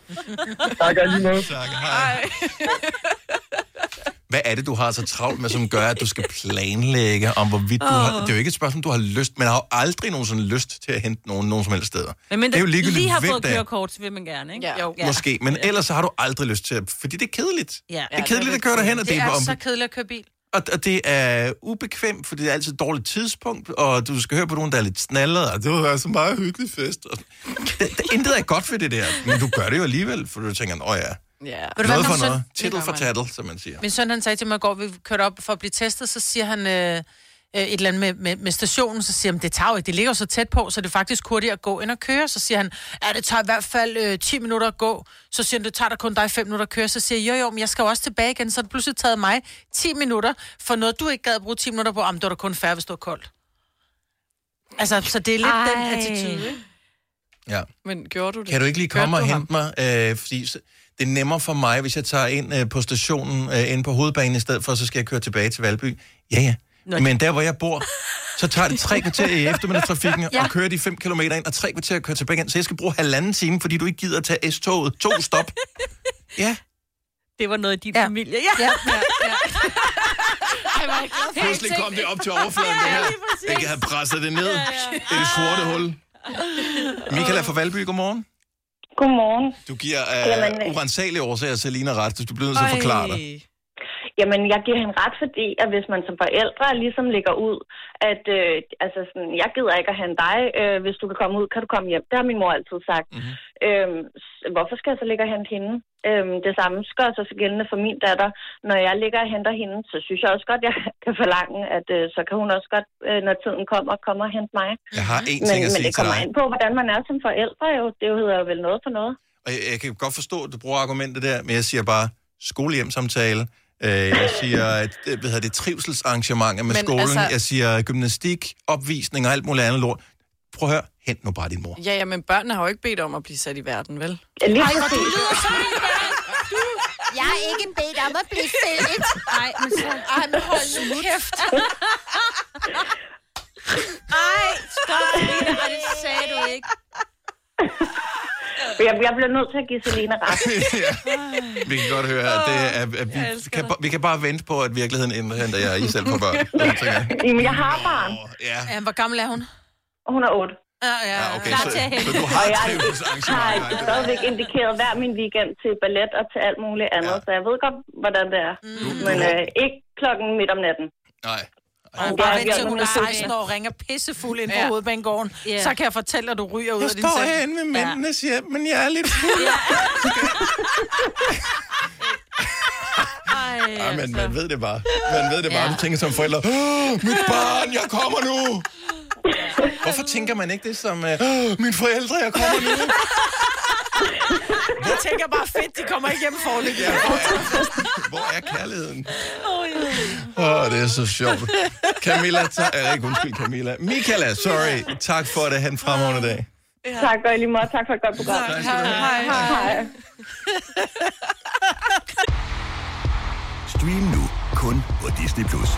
S13: Tak, og lige måde.
S1: Tak, hej. Hvad er det, du har så travlt med, som gør, at du skal planlægge om, hvorvidt du har...
S3: Åh.
S1: Det er jo ikke et spørgsmål, du har lyst. Man har jo aldrig nogensinde lyst til at hente nogen nogen som helst steder.
S3: Men mindre,
S1: det er jo ligegyldigt,
S3: lige har
S1: hvem
S3: fået
S1: der er.
S3: kørekort, så vil man gerne, ikke? Ja. Jo.
S1: Måske, men ellers så har du aldrig lyst til at... Fordi det er kedeligt.
S3: Ja.
S1: det er kedeligt at køre derhen, og det,
S2: Det
S1: er,
S2: er
S1: om,
S2: så kedeligt at køre bil.
S1: og, og det er ubekvemt, for det er altid et dårligt tidspunkt, og du skal høre på nogen, der er lidt snallet, og det var altså en meget hyggelig fest. Og, det, det, intet er godt ved det der, men du gør det jo alligevel, for du tænker, nå ja,
S4: Ja.
S1: noget for noget, tittel for tattel, som man siger.
S2: Min søn han sagde til mig i går, vi kørte op for at blive testet, så siger han øh, øh, et eller andet med, med, med stationen, så siger han, det tager jo ikke, det ligger jo så tæt på, så det er faktisk hurtigere at gå end at køre. Så siger han, ja, det tager i hvert fald øh, 10 minutter at gå. Så siger han, det tager da kun dig 5 minutter at køre. Så siger jeg, jo jo, men jeg skal jo også tilbage igen, så har det pludselig taget mig 10 minutter for noget, du ikke gad at bruge 10 minutter på. Jamen, det var da kun færre, hvis det var koldt. Altså, så det er lidt Ej. den
S3: Ej.
S2: attitude, ikke?
S1: Ja.
S4: Men gjorde du det?
S1: Kan du ikke lige komme
S4: Kørte
S1: og
S4: du
S1: hente mig? Øh, fordi så- det er nemmere for mig, hvis jeg tager ind øh, på stationen, øh, ind på hovedbanen i stedet for, så skal jeg køre tilbage til Valby. Ja, ja.
S15: Nå,
S1: Nå, Men der, hvor jeg bor, så tager det tre kvarter i eftermiddagstrafikken, ja.
S15: Ja.
S1: og kører de 5 km ind, og tre kvarter at køre tilbage igen. Så jeg skal bruge halvanden time, fordi du ikke gider at tage S-toget. To stop. Ja.
S3: Det var noget i din ja. familie. Ja.
S2: ja. ja.
S4: Det var ikke glad for.
S1: Pludselig kom det op til overfladen, det her. Ikke havde presset det ned.
S15: Ja,
S1: Det er det sorte hul. Michaela fra Valby, godmorgen.
S15: Godmorgen.
S1: Du giver
S15: Jamen,
S1: af
S15: øh.
S1: urensagelige årsager Selina ret, så du bliver nødt til at
S15: Ej.
S1: forklare dig.
S15: Jamen, jeg giver hende ret, fordi at hvis man som forældre ligesom lægger ud, at øh, altså sådan, jeg gider ikke at have en dig, øh, hvis du kan komme ud, kan du komme hjem. Det har min mor altid sagt.
S1: Mhm.
S15: Mm-hmm. Øhm, s- hvorfor skal jeg så ligge og hente hende? Øhm, det samme gør sig så gældende for min datter. Når jeg ligger og henter hende, så synes jeg også godt, jeg kan forlange, at øh, så kan hun også godt, øh, når tiden kommer, komme og hente mig.
S1: Jeg har én
S15: men,
S1: ting at
S15: men
S1: sige
S15: det
S1: til
S15: kommer
S1: dig.
S15: ind på, hvordan man er som forældre. Jo. Det hedder jo vel noget for noget.
S1: Og jeg, jeg kan godt forstå, at du bruger argumentet der, men jeg siger bare skolehjemsamtale. Øh, jeg siger, at, øh, hvad hedder det, trivselsarrangementer med
S4: Men
S1: men skolen. Altså...
S4: altså-
S1: Jeg siger gymnastik, opvisning og alt muligt andet lort. Prøv at høre, hent nu bare din mor.
S4: Ja, ja, men børnene har jo ikke bedt om at blive sat i verden, vel?
S15: Ja, lige
S4: Ej, hvor
S15: præcis.
S4: du lyder som en mand.
S16: Jeg er ikke bedt om at blive fældet. Nej, men så... Ej, men hold nu kæft.
S3: Ej, stop, Lina. Ej, det sagde du ikke.
S15: Men Jeg, jeg bliver nødt til at give Selina ret.
S1: Vi kan godt høre, at, det er, at vi, kan, ba- vi kan bare vente på, at virkeligheden indhenter jer I selv på børn. Sådan tænker jeg.
S15: Jamen, jeg har barn.
S1: Ja.
S2: ja. Hvor gammel er hun?
S15: Hun er 8.
S2: Ja, ja. ja
S1: Ah, okay, Klar så- til at hente. så du har
S15: og jeg
S1: trivselsarrangementer.
S15: har stadigvæk indikeret hver min weekend til ballet og til alt muligt andet, ja. så jeg ved godt, hvordan det er. Mm. Men øh, ikke klokken midt om natten.
S1: Nej.
S2: Og hun
S15: Ja,
S2: bare
S15: vi
S2: vent til
S15: har
S2: hun er
S15: nogle
S2: 16
S15: søskende.
S2: år og ringer pissefuld ind på
S15: Ja.
S2: ja. hovedbanegården.
S15: Ja.
S2: Så kan jeg fortælle dig, at du ryger ud
S1: Jeg
S2: af din
S1: står
S2: seng.
S1: herinde ved mændenes ja. hjem, men jeg er lidt fuld.
S3: Ej,
S1: Ja, men man ved det bare. Man ved det bare. Ja. Du tænker som forældre, "Åh, mit barn, jeg kommer nu. Hvorfor tænker man ikke det som, øh, "Åh, mine forældre, jeg kommer nu?
S2: Jeg tænker bare, fedt, de kommer ikke hjem forløbig. Ja.
S1: Hvor er kærligheden? Åh, oh, det er så sjovt. Camilla, ta- er ikke undskyld, Camilla. Michaela, sorry. Tak for det. Han fremragende dag.
S15: Ja. Tak, og i lige måde. Tak for et godt program.
S1: Tak
S15: hej, hej, hej.
S12: Stream nu kun på Disney+. Plus.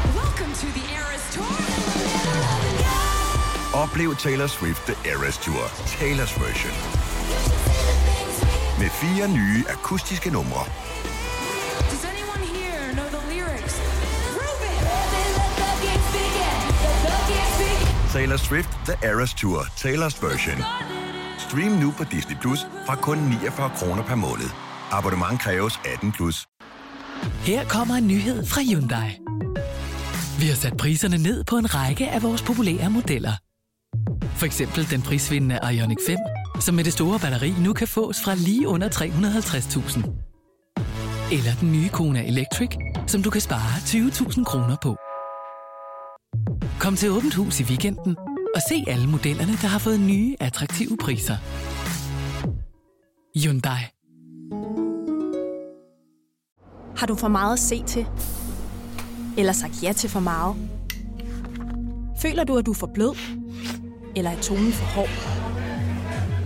S12: Oplev Taylor Swift The Eras Tour, Taylor's version. Med fire nye akustiske numre. Taylor Swift The Eras Tour, Taylor's version. Stream nu på Disney Plus fra kun 49 kroner per måned. Abonnement kræves 18 plus.
S17: Her kommer en nyhed fra Hyundai. Vi har sat priserne ned på en række af vores populære modeller. For eksempel den prisvindende Ioniq 5, som med det store batteri nu kan fås fra lige under 350.000. Eller den nye Kona Electric, som du kan spare 20.000 kroner på. Kom til Åbent Hus i weekenden og se alle modellerne, der har fået nye, attraktive priser. Hyundai.
S18: Har du for meget at se til? Eller sagt ja til for meget? Føler du, at du er for blød? Eller er tonen for hård?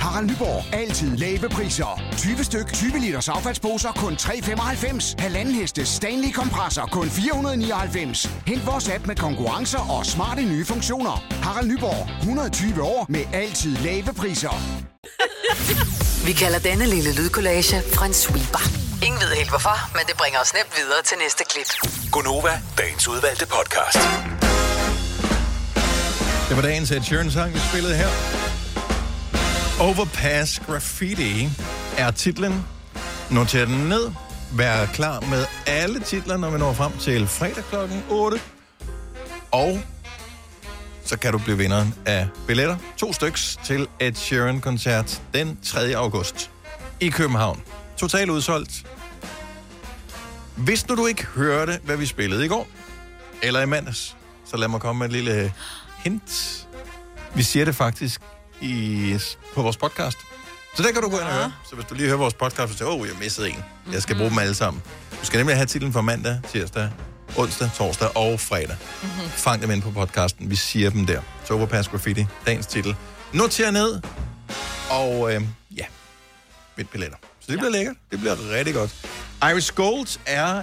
S19: Harald Nyborg. Altid lave priser. 20 styk, 20 liters affaldsposer kun 3,95. Halvanden heste Stanley kompresser kun 499. Hent vores app med konkurrencer og smarte nye funktioner. Harald Nyborg. 120 år med altid lave priser.
S6: Vi kalder denne lille lydkollage en sweeper. Ingen ved helt hvorfor, men det bringer os nemt videre til næste klip.
S12: Gonova, dagens udvalgte podcast.
S1: Det var dagens Ed Sheeran-sang, vi spillede her. Overpass Graffiti er titlen. Noter den ned. Vær klar med alle titler, når vi når frem til fredag kl. 8. Og så kan du blive vinderen af billetter. To styks til Ed Sheeran-koncert den 3. august i København. Total udsolgt. Hvis nu du ikke hørte, hvad vi spillede i går, eller i mandags, så lad mig komme med et lille hint. Vi siger det faktisk i, på vores podcast. Så der kan du gå ind og høre. Så hvis du lige hører vores podcast, så tænker åh, oh, jeg missede en. Jeg skal bruge dem alle sammen. Du skal nemlig have titlen for mandag, tirsdag, onsdag, torsdag og fredag. Mm-hmm. Fang dem ind på podcasten. Vi siger dem der. Så Overpass Graffiti, dagens titel. Noter ned, og øh, ja, vind billetter. Så det ja. bliver lækkert. Det bliver rigtig godt. Iris Gold er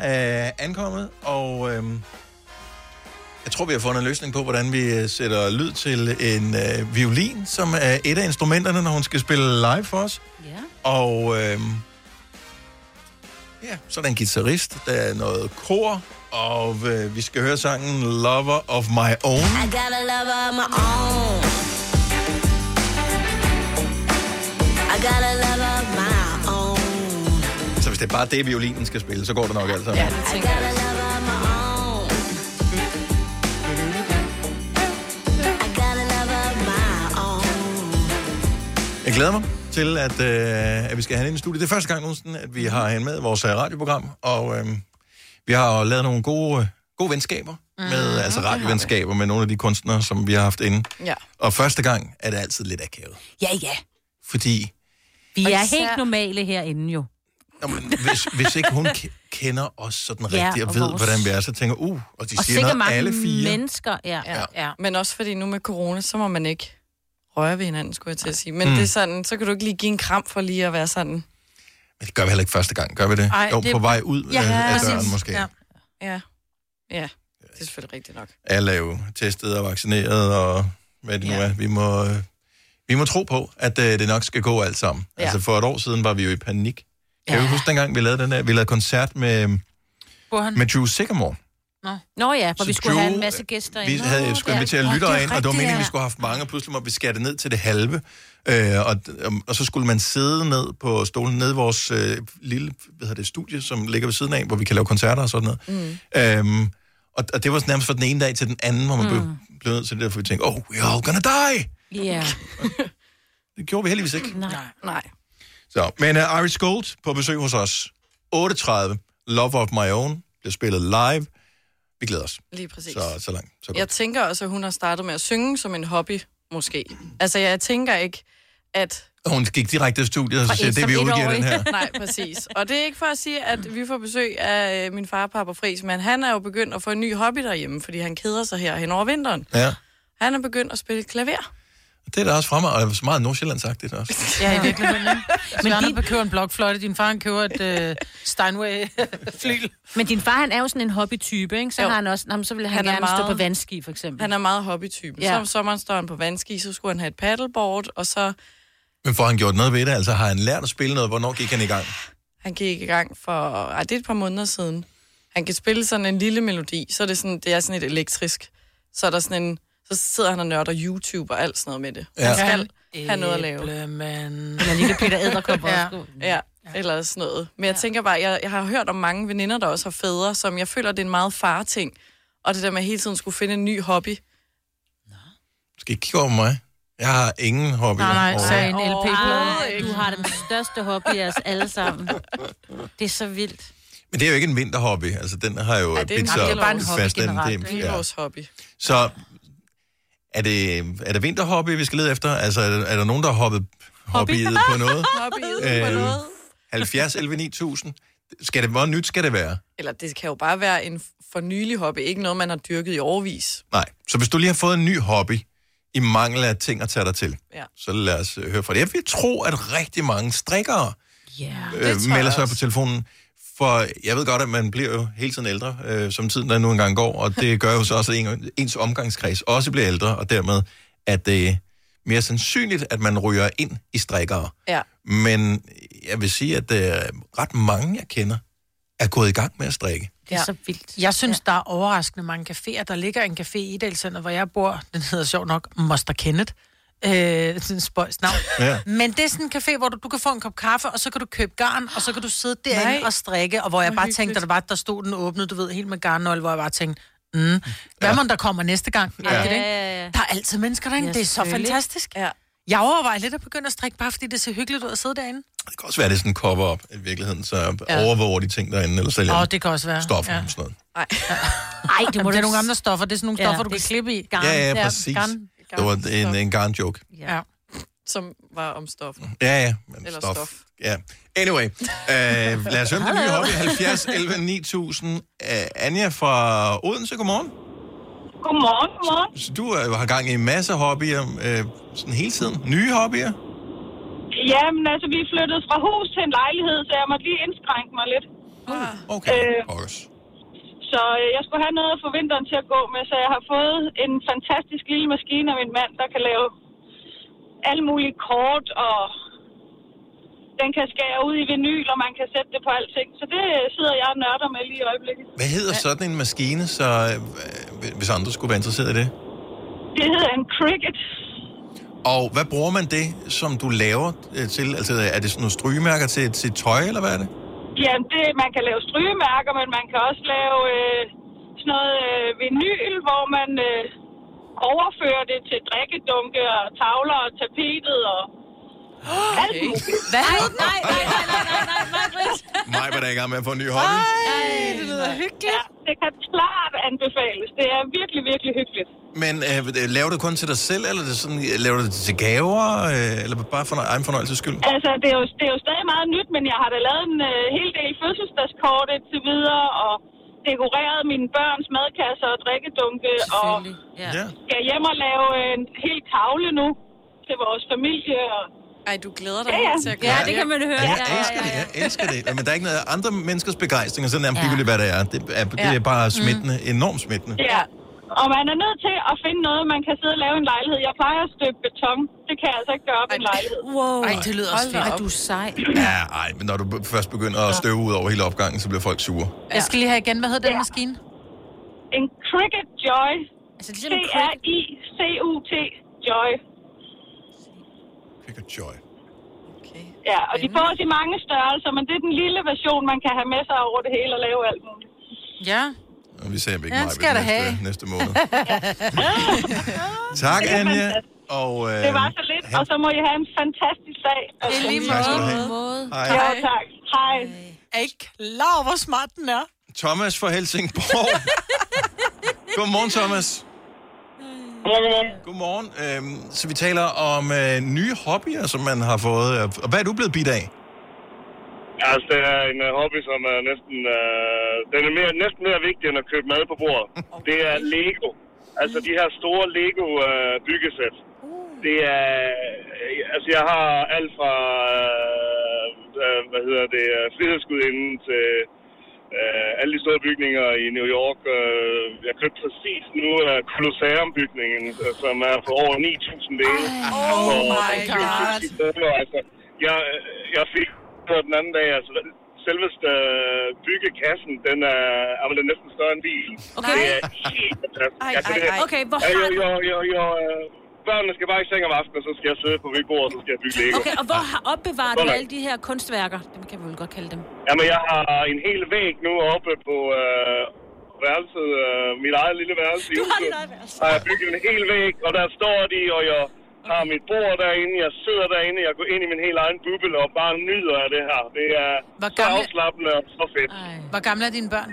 S1: øh, ankommet, og øh, Jeg tror, vi har fundet en løsning på, hvordan vi øh, sætter lyd til en øh, violin, som er et af instrumenterne, når hun skal spille live for os.
S3: Ja.
S1: Og øh, ja, så er der en guitarist, der er noget kor, og øh, vi skal høre sangen Lover of My Own.
S20: I got a love of my own. I got a love of my own.
S1: Så hvis det er bare det, violinen skal spille, så går det nok alt sammen.
S20: I got a love of my own. I got a love of my own.
S1: Jeg glæder mig til, at, øh, at vi skal have hende i studiet. Det er første gang nogensinde, at vi har hende med i vores øh, radioprogram, og øh, vi har jo lavet nogle gode, øh, gode venskaber, med, mm, altså radiovenskaber med nogle af de kunstnere, som vi har haft inde.
S4: Ja.
S1: Og første gang er det altid lidt akavet,
S3: Ja, ja.
S1: fordi
S3: Vi
S1: Og
S3: er
S1: især-
S3: helt normale herinde jo.
S1: hvis, hvis ikke hun ke- kender os sådan
S3: Ja,
S1: rigtigt og
S3: og
S1: ved,
S3: vores-
S1: hvordan vi er, så tænker uh, og de
S3: Og
S1: siger
S3: sikkert
S1: noget
S3: mange
S1: alle fire.
S3: mennesker. Ja.
S4: Ja. ja. Men også fordi nu med corona, så må man ikke røre ved hinanden, skulle jeg til at sige. Men
S1: Mm.
S4: mm. det er sådan, så kan du ikke lige give en kram for lige at være sådan.
S1: Men det gør vi heller ikke første gang, gør vi det? Ej, jo, det... på vej ud ja, af, af døren
S4: præcis.
S1: måske.
S4: Ja. ja. Ja, det er selvfølgelig rigtigt nok.
S1: alle er jo testet og vaccineret, og hvad det nu er. Vi må, øh, vi må tro på, at øh, det nok skal gå alt sammen. Ja.
S4: Ja.
S1: Altså for et år siden var vi jo i panik. Kan ja. du huske dengang, vi lavede den der, vi lavede koncert med,
S2: Burhan.
S1: med Drew Sigamore.
S2: Nå.
S3: Nå ja, hvor
S1: Så
S3: vi skulle
S1: Joe,
S3: have en masse gæster
S1: Vi
S3: ind.
S1: havde
S3: Nå,
S1: Nå, skulle
S3: ja.
S1: invitere
S3: Nå, det er
S1: lyttere ind, og det var
S3: rigtigt,
S1: meningen, at vi
S3: ja.
S1: skulle have haft mange, og pludselig måtte vi skære det ned til det halve. Øh, og, og så skulle man sidde ned på stolen, ned i vores øh, lille hvad hedder det, studie, som ligger ved siden af, hvor vi kan lave koncerter og sådan noget.
S21: Mm.
S1: Øhm, og, og det var sådan nærmest fra den ene dag til den anden, hvor man mm. blev, blev nødt til det, for vi tænkte, oh, we're all gonna die!
S3: Ja.
S1: Det gjorde vi heldigvis ikke.
S3: Nej.
S4: Nej.
S1: Så, men uh, Iris Gold på besøg hos os. 8.30, Love of My Own, bliver spillet live. Vi glæder os.
S4: Lige præcis.
S1: Så, så langt. Så godt.
S4: Jeg tænker også, at hun har startet med at synge som en hobby, måske. Altså, jeg tænker ikke, at...
S1: Og hun gik direkte til studiet, og så
S4: Fra
S1: siger,
S4: et-
S1: det
S4: som
S1: vi udgiver
S4: etårig."
S1: den her.
S4: Nej, præcis. Og det er ikke for at sige, at vi får besøg af øh, min far, pappa Friis, men han er jo begyndt at få en ny hobby derhjemme, fordi han keder sig her hen over vinteren.
S1: Ja,
S4: Han er begyndt at spille klaver.
S1: det er da også fremme, og det er så meget nordsjælland sagt det også.
S2: Ja, i virkeligheden, ikke? Men Søren din... køber en blokfløjte, din far han køber et øh, Steinway-flyl.
S3: Men din far, han er jo sådan en hobbytype, ikke? Så
S2: Jo.
S3: har han også... Nå, men så vil han,
S4: Han
S3: han
S4: er
S3: gerne stå
S4: meget-
S3: på vandski, for eksempel.
S4: Han er meget hobbytypen.
S3: Ja.
S4: Ja. Så om sommeren står han på vandski, så skulle han have et paddleboard, og så
S1: Men får han gjort noget ved det? Altså har han lært at spille noget? Hvornår gik han i gang?
S4: han gik i gang for... Ej, det er et par måneder siden. Han kan spille sådan en lille melodi, så er det, sådan, det er sådan et elektrisk. Så er der sådan en... Så sidder han og nørder YouTube og alt sådan noget med det.
S2: Ja.
S4: Ja. Han skal
S2: Kan
S4: have noget at lave.
S2: Eller
S3: lille Peter Edderkop
S4: ja.
S3: også.
S4: ja, eller sådan noget. Men jeg tænker bare, jeg, jeg har hørt om mange veninder, der også har fædre, som jeg føler, det er en meget far-ting. Og det der med at hele tiden skulle finde en ny hobby.
S1: Skal I kigge over på mig? Jeg har ingen hobby.
S3: Ej, Du har den største hobby af os alle sammen. Det er så vildt.
S1: Men det er jo ikke en vinterhobby. Altså, den har jo ja,
S3: det er en-
S1: pizza
S3: det er bare en hobby
S1: fast den.
S3: generelt,
S1: Det,
S4: Det er
S1: ja.
S4: vores hobby.
S1: Så er det, er det vinterhobby, vi skal lede efter? Altså, er der, er der nogen, der har hoppet hobbyet på noget?
S4: Hobbyet på
S1: Øhm,
S4: noget.
S1: 70, 11, 9000. Skal det, hvor nyt skal det være?
S4: Eller det kan jo bare være en for nylig hobby, ikke noget, man har dyrket i overvis.
S1: Nej. Så hvis du lige har fået en ny hobby, i mangel af ting at tage dig til,
S4: Ja.
S1: så lad os øh, høre fra det. Jeg vil tro, at rigtig mange strikkere
S3: Yeah.
S1: øh, melder sig på telefonen. For jeg ved godt, at man bliver jo hele tiden ældre, øh, som tiden der nu engang går, og det gør jo så også, at en, ens omgangskreds også bliver ældre, og dermed er det mere sandsynligt, at man ryger ind i strikkere.
S4: Ja.
S1: Men jeg vil sige, at øh, ret mange, jeg kender, er gået i gang med at strikke.
S3: Det er så vildt.
S2: Jeg synes, ja. der er overraskende mange caféer. Der ligger en café i Idalcenter, hvor jeg bor. Den hedder sjov nok Moster Kenneth. Øh, det er en spøjs navn.
S22: Ja.
S2: Men det er sådan en café, hvor du, du kan få en kop kaffe, og så kan du købe garn, og så kan du sidde derinde
S22: Nej.
S2: og strikke, og hvor jeg
S22: Hvor
S2: bare
S22: hyggeligt.
S2: tænkte, da der, var, der stod den åbnet, du ved, helt med garnnøgle, hvor jeg bare tænkte, mm, hvad ja. man der kommer næste gang?
S3: Ja.
S2: Ja. Ikke?
S3: Ja, ja, ja.
S2: Der er altid mennesker derinde, ja,
S3: Ja,
S2: det er så
S3: selvfølgelig.
S2: fantastisk.
S4: Ja.
S2: Jeg overvejer lidt at begynde at strikke, bare fordi det ser hyggeligt ud at sidde derinde.
S1: Det kan også være, at det er sådan en cover-up i virkeligheden, så
S2: Ja.
S1: ja. overvåger de ting derinde, eller sælger
S2: Åh,
S1: dem.
S2: det kan også være.
S1: Stoffer
S2: Ja.
S1: og sådan noget.
S3: Ej, det må
S2: Jamen, det er
S3: du
S2: nogle
S3: s-
S2: andre stoffer. Det er sådan nogle
S3: Ja,
S2: stoffer, du
S3: det
S2: kan klippe i.
S1: Ja, ja, præcis.
S2: garn.
S1: Det var en, en garn-joke.
S3: Ja.
S4: Som var om stoffer.
S1: Ja, ja. Men
S4: Eller
S1: stof.
S4: stof.
S1: Ja. Anyway, øh, lad os høre, om det nye hobby. 70 11 9000. Øh, Anja fra Odense, godmorgen.
S23: Godmorgen, godmorgen.
S1: Så du øh, har gang i en masse hobbyer, øh, sådan hele tiden. Nye hobbyer?
S23: Jamen, altså, vi er flyttet
S2: Ah.
S23: fra hus til en lejlighed, så jeg måtte lige indskrænke mig lidt.
S1: Okay, øh,
S23: Så øh, jeg skulle have noget for vinteren til at gå med, så jeg har fået en fantastisk lille maskine af min mand, der kan lave alle mulige kort, og den kan skære ud i vinyl, og man kan sætte det på alting. Så det øh, sidder jeg og nørder med lige i øjeblikket.
S1: Hvad hedder sådan en maskine, så øh, hvis andre skulle være interesseret i det?
S23: Det hedder en cricket.
S1: Og hvad bruger man det, som du laver øh, til? Altså, er det sådan nogle strygemærker til, til tøj, eller hvad er det?
S23: Jamen, det, man kan lave strygemærker, men man kan også lave øh, sådan noget øh, vinyl, hvor man øh, overfører det til drikkedunke og tavler og tapetet og... Ah, Okay.
S3: Hvad? Nej, nej, nej, nej, nej, nej, nej, nej, Britt.
S1: Nej, hvad er i gang med at få en ny hobby?
S23: Ej, det lyder hyggeligt. Ja, det kan klart anbefales. Det er virkelig, virkelig hyggeligt.
S1: Men øh, laver du kun til dig selv, eller er det sådan, øh, laver du det til gaver, øh, eller bare for egen fornøjelses skyld?
S23: Altså, det er, jo, det er jo stadig meget nyt, men jeg har da lavet en øh, hel del fødselsdagskort til videre, og dekoreret mine børns madkasser og drikkedunke, og
S1: Ja. ja.
S23: skal hjem og lave øh, en hel tavle nu til vores familie. Og...
S4: Ej, du glæder dig
S23: ja, ja.
S4: helt til at
S23: Ja,
S4: gøre
S23: det
S4: det.
S23: kan man høre.
S1: Jeg elsker det, jeg elsker det. Men der er ikke noget andre menneskers begejstring, og sådan er det ligegyldigt, hvad det er. Det er, det
S23: Ja. Mm.
S1: er bare smittende, enormt smittende.
S23: Ja. Og man er nødt til at finde noget, man kan sidde og lave en lejlighed. Jeg plejer at støbe beton. Det kan jeg altså ikke gøre op i en lejlighed.
S3: Wow.
S23: Ej, det lyder også fedt.
S3: Ej, du er sej.
S1: Ja, ej, men når du b- først begynder at støve ud over hele opgangen, så bliver folk sure.
S2: Jeg skal lige have igen, hvad hedder den maskine?
S23: En Cricket Joy.
S3: Altså,
S23: det C-R-I-C-U-T. Joy.
S1: Cricket Joy.
S23: Ja, og de får i mange størrelser, men det er den lille version, man kan have med sig over det hele og lave alt muligt.
S2: Ja.
S1: Og vi ser ikke
S23: Ja,
S1: ja,
S23: skal
S1: meget
S23: der
S1: næste,
S23: have.
S1: næste måned. Tak,
S23: Det er
S1: Anja.
S23: fantastisk.
S1: Og, øh,
S23: Det var så lidt, og så må I have en fantastisk dag.
S2: Det er lige
S1: Tak
S2: måde.
S1: skal du have. Hej.
S23: Jo, tak. Hej.
S2: Er I ikke klar over, hvor smart den er?
S1: Thomas fra Helsingborg. Godmorgen, Thomas.
S8: Godmorgen,
S1: godmorgen. Godmorgen. Øhm, så vi taler om øh, nye hobbyer, som man har fået. øh, Og hvad er du blevet bidt af?
S8: Altså, det er en øh, hobby, som er næsten... Øh, den er mere, næsten mere vigtig, end at købe mad på bordet. Det er Lego. Altså, de her store Lego-byggesæt. det er... øh, Altså, jeg har alt fra... Øh, øh, hvad hedder det? øh, Frihedsgudinden til... Øh, alle de store bygninger i New York. Øh, jeg købte præcis nu øh, Colosseum-bygningen, øh, som er på over 9.000 dele.
S23: Oh
S8: my god. Altså, jeg, jeg fik på den anden dag, altså selveste øh, byggekassen, den er, jamen, den er næsten større end bilen.
S3: Okay.
S8: Det er helt fantastisk.
S3: Ej,
S8: Altså,
S3: ej,
S8: det er-
S3: ej. Okay, hvor
S8: Ja,
S3: har
S8: jo,
S3: du-
S8: jo, jo, jo, øh, Børnene skal bare i seng om aftenen, og så skal jeg sidde på mit bord, og så skal jeg bygge Lego.
S3: Okay, og hvor har opbevaret
S8: Sådan.
S3: du alle de her kunstværker? Dem kan vi vel godt kalde dem.
S8: Jamen, jeg har en hel væg nu oppe på øh, værelset, øh, mit eget lille værelse. i
S3: Du har
S8: huset.
S3: dit eget værelse.
S8: Har jeg bygget en hel væg, og der står de, og jeg har mit bord derinde, jeg sidder derinde, jeg går ind i min helt egen bubbel og bare nyder af det her. Det er
S2: Hvor
S8: så
S2: gamle-
S8: afslappende og så fedt.
S2: Hvor gamle er dine børn?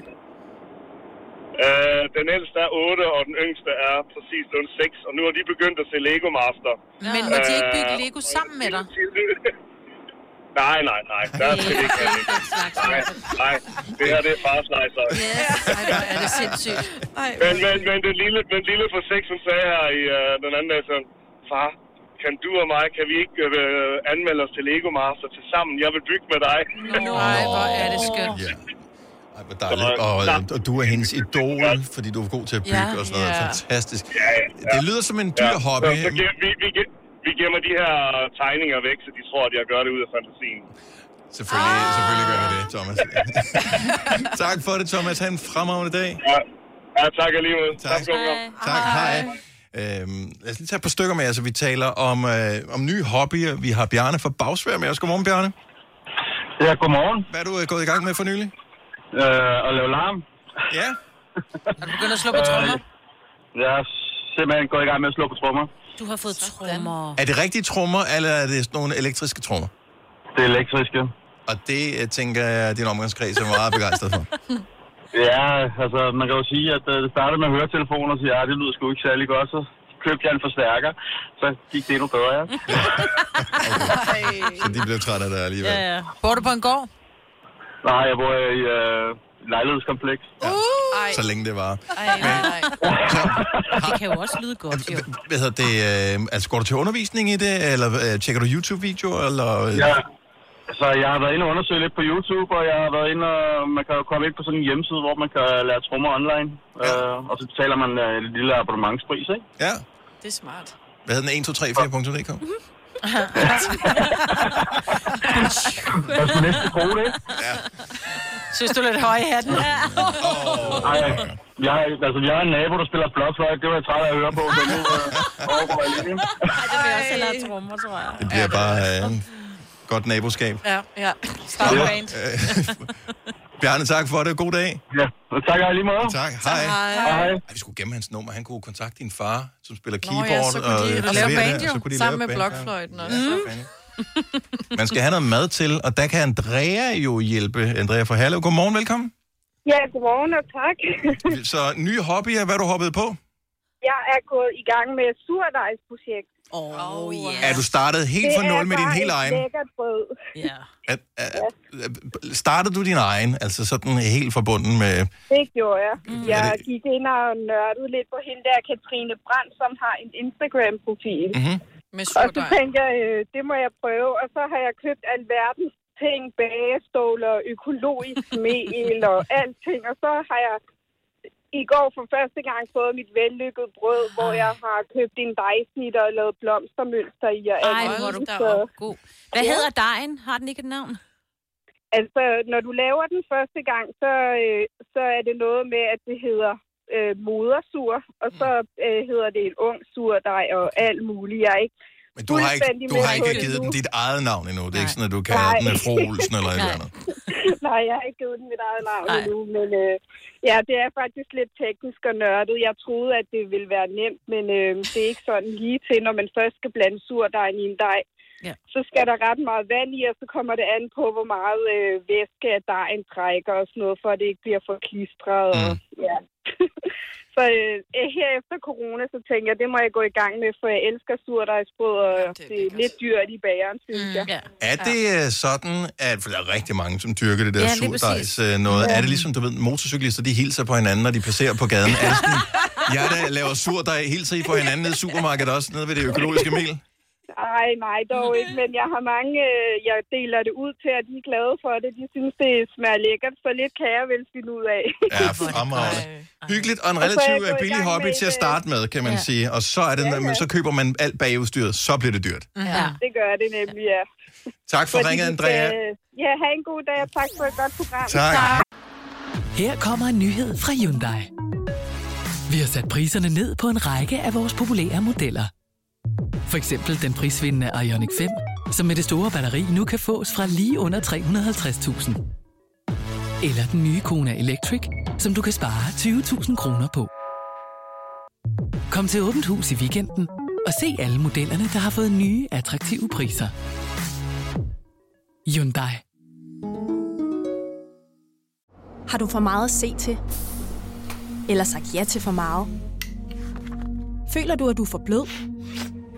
S8: Øh, den ældste er 8, og den yngste er præcis den 6, og nu har de begyndt at se Lego Master.
S2: Men må de ikke bygge
S8: Øh,
S2: Lego sammen med dig?
S8: Nej, nej, nej. Der skal vi ikke have det. Nej, nej. Det her, det er fars lejser.
S2: Er det sindssygt?
S8: Men, men, men den lille, den lille for seks, hun sagde her i, øh, den anden dag, sådan, far, kan du og mig, kan vi ikke øh, anmelde os til Lego Master til sammen? Jeg vil bygge med dig.
S2: Nej, hvor er det skønt.
S1: Ja. Ej, hvor dejligt. Og, øh, og du er hendes idol, fordi du er god til at bygge
S8: Ja.
S1: og sådan noget.
S8: Ja.
S1: Fantastisk. Det lyder som en dyr hobby.
S8: Så, så gemmer, vi, vi, gemmer, vi gemmer de her tegninger væk, så de tror, at jeg gør det ud af fantasien.
S1: Selvfølgelig,
S8: Ah.
S1: selvfølgelig gør vi det, Thomas. tak for det, Thomas. Ha' en fremragende dag.
S8: Ja, ja tak alligevel.
S1: Tak.
S8: Tak, hej.
S1: Tak, hej. Øhm, lad os lige tage et par stykker med, altså vi taler om, øh, om nye hobbyer. Vi har Bjarne fra Bagsvær med os. Godmorgen, Bjarne.
S8: Ja, godmorgen.
S1: Hvad er du øh, gået i gang med for nylig?
S8: Øh, at lave larm.
S1: Ja.
S2: Er du begyndt at slå på trommer?
S8: Øh, Jeg er simpelthen gået i gang med at slå på trommer.
S3: Du har fået trommer.
S1: Er det rigtige trommer, eller er det sådan nogle elektriske trommer?
S8: Det er elektriske.
S1: Og det, jeg tænker jeg, din omgangskreds er meget begejstret for.
S8: Ja, altså man kan jo sige, at øh, det startede med høretelefoner, så ja, det lyder sgu ikke særlig godt, så købte jeg en forstærker, så gik det endnu bedre, ja.
S1: Så de blev trætte af det alligevel.
S2: Ja, ja. Bor du på en gård?
S8: Nej, jeg bor i øh, lejlighedskompleks.
S2: Ej.
S1: Så længe det var.
S2: Uh! Ej, nej,
S3: Det kan jo også lyde godt, jo.
S1: Hvad hedder det? Øh, altså, går du til undervisning i det, eller øh, tjekker du YouTube-videoer? Eller, øh,
S8: Ja.
S13: Så jeg har været inde og undersøge lidt på YouTube, og jeg har været inde og man kan jo komme ind på sådan en hjemmeside, hvor man kan lære trommer online. Ja. Øh, og så betaler man øh, en lille abonnementspris, ikke?
S1: Ja.
S4: Det er smart.
S1: Hvad hedder den? 1234.dk?
S13: Hvad skulle næste bruge det?
S1: Ja.
S2: Synes du lidt høj i hatten? Ja.
S13: Ej, jeg, altså, jeg har en nabo, der spiller blåfløjt. Det var jeg træt af at høre på, så nu øh, overgår jeg lige.
S4: Ej, det vil jeg også hellere have trommer, tror jeg.
S1: Det bliver bare øh, godt naboskab.
S4: Ja, ja. Start
S1: Ja.
S4: band.
S1: Bjarne, tak for det. God dag.
S13: Ja, og tak og lige måde.
S1: Tak. Hej.
S4: Hej.
S1: Hej. Ej, vi skulle gemme hans nummer. Han kunne kontakte din far, som spiller keyboard.
S4: Nå ja, så kunne de lave
S1: og, klaver der,
S4: band
S1: så kunne
S4: jo,
S1: de
S4: sammen
S1: lave
S4: med
S1: band, ja.
S4: blokfløjten også. Mm.
S1: Man skal have noget mad til, og der kan Andrea jo hjælpe. Andrea fra Herlev. Godmorgen, velkommen.
S10: Ja, godmorgen og tak.
S1: Så nye hobbyer, hvad er du hoppet på?
S10: Jeg er gået i gang med et surdejsprojekt. Åh, oh, ja.
S1: Er du startet helt fra nul med din helt egen?
S10: Det er bare et lækkert brød.
S2: Ja.
S1: Er, er, er- startede du din egen, altså sådan helt forbunden med...
S10: Det gjorde jeg. Mm. Jeg
S1: Er det-
S10: gik ind og nørdede lidt på hende der, Katrine Brandt, som har en Instagram-profil.
S1: Mhm.
S4: Med
S10: og så tænkte jeg, øh, det må jeg prøve. Og så har jeg købt alverdens ting, bageståler, økologisk mel og alting. Og så har jeg i går for første gang fået mit vellykkede brød, hvor jeg har købt en dejsnitter og lavet blomstermønster i. Og alt
S3: Ej, hvor er du
S10: muligt.
S3: da
S10: Så-
S3: op- god. Hvad
S10: Ja.
S3: hedder dejen? Har den ikke et navn?
S10: Altså, når du laver den første gang, så, øh, så er det noget med, at det hedder øh, modersur, og så øh, hedder det en ung surdej og alt muligt. Jeg er ikke
S1: Men du har ikke,
S10: fuldstændig
S1: du
S10: med
S1: har
S10: på
S1: ikke
S10: det
S1: givet
S10: nu.
S1: den dit eget navn endnu. Det er ikke sådan, at du kan
S10: Nej.
S1: have den med fru Olsen eller et eller andet.
S10: Nej, jeg har ikke givet den mit eget navn endnu, men øh, ja, det er faktisk lidt teknisk og nørdet. Jeg troede, at det ville være nemt, men øh, det er ikke sådan lige til, når man først skal blande surdejen i en dej.
S3: Ja.
S10: Så skal der ret meget vand i, og så kommer det an på, hvor meget øh, væske at dejen trækker og sådan noget, for at det ikke bliver for klistret. Mm. Og, ja. så øh, her efter corona, så tænker jeg, det må jeg gå i gang med, for jeg elsker surdejsbrød, og ja, det, er det er lidt dyrt i bageren, synes mm. jeg. Ja.
S1: Er det øh, sådan, at for der er rigtig mange, som dyrker det der
S10: Ja,
S1: ja,
S10: lige præcis.
S1: surdejs øh, noget?
S10: Ja.
S1: Er det ligesom, du ved, motorcyklister, de hilser på hinanden, når de passerer på gaden? Er det sådan, jeg der laver surdej, hilser I på hinanden nede i supermarkedet også, nede ved det økologiske mel?
S10: Ej, nej, dog ikke, men jeg har mange, øh, jeg deler det ud til, at de er glade for det. De synes, det smager lækkert, så lidt kan jeg vel finde ud af.
S1: Ja, fremragende. Hyggeligt og en
S10: Og så er jeg
S1: relativt
S10: gået
S1: øh,
S10: i
S1: billig
S10: gang
S1: hobby
S10: med
S1: til at
S10: et, øh,
S1: starte med, kan man
S10: ja.
S1: sige. Og så, er det, men så køber man alt bagudstyret, så bliver det dyrt.
S10: ja. Det gør det nemlig, ja.
S1: Tak for
S10: Fordi
S1: ringet,
S10: vi
S1: Andrea.
S10: skal- Ja, have en god dag, og tak for et godt program.
S1: Tak.
S17: Her kommer en nyhed fra Hyundai. Vi har sat priserne ned på en række af vores populære modeller. For eksempel den prisvindende Ioniq 5, som med det store batteri nu kan fås fra lige under 350.000. Eller den nye Kona Electric, som du kan spare 20.000 kroner på. Kom til Åbent Hus i weekenden og se alle modellerne, der har fået nye, attraktive priser. Hyundai.
S18: Har du for meget at se til? Eller sagt ja til for meget? Føler du, at du er for blød?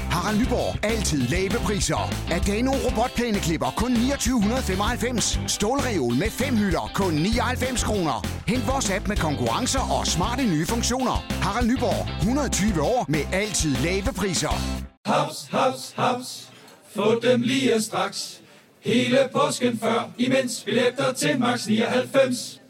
S19: Harald Nyborg. Altid lave priser. Adano robotplæneklipper kun 2995. Stålreol med fem hylder kun 99 kroner. Hent vores app med konkurrencer og smarte nye funktioner. Harald Nyborg. 120 år med altid lave priser.
S9: Haps, haps, haps. Få dem lige straks. Hele påsken før, imens billetter til max 99.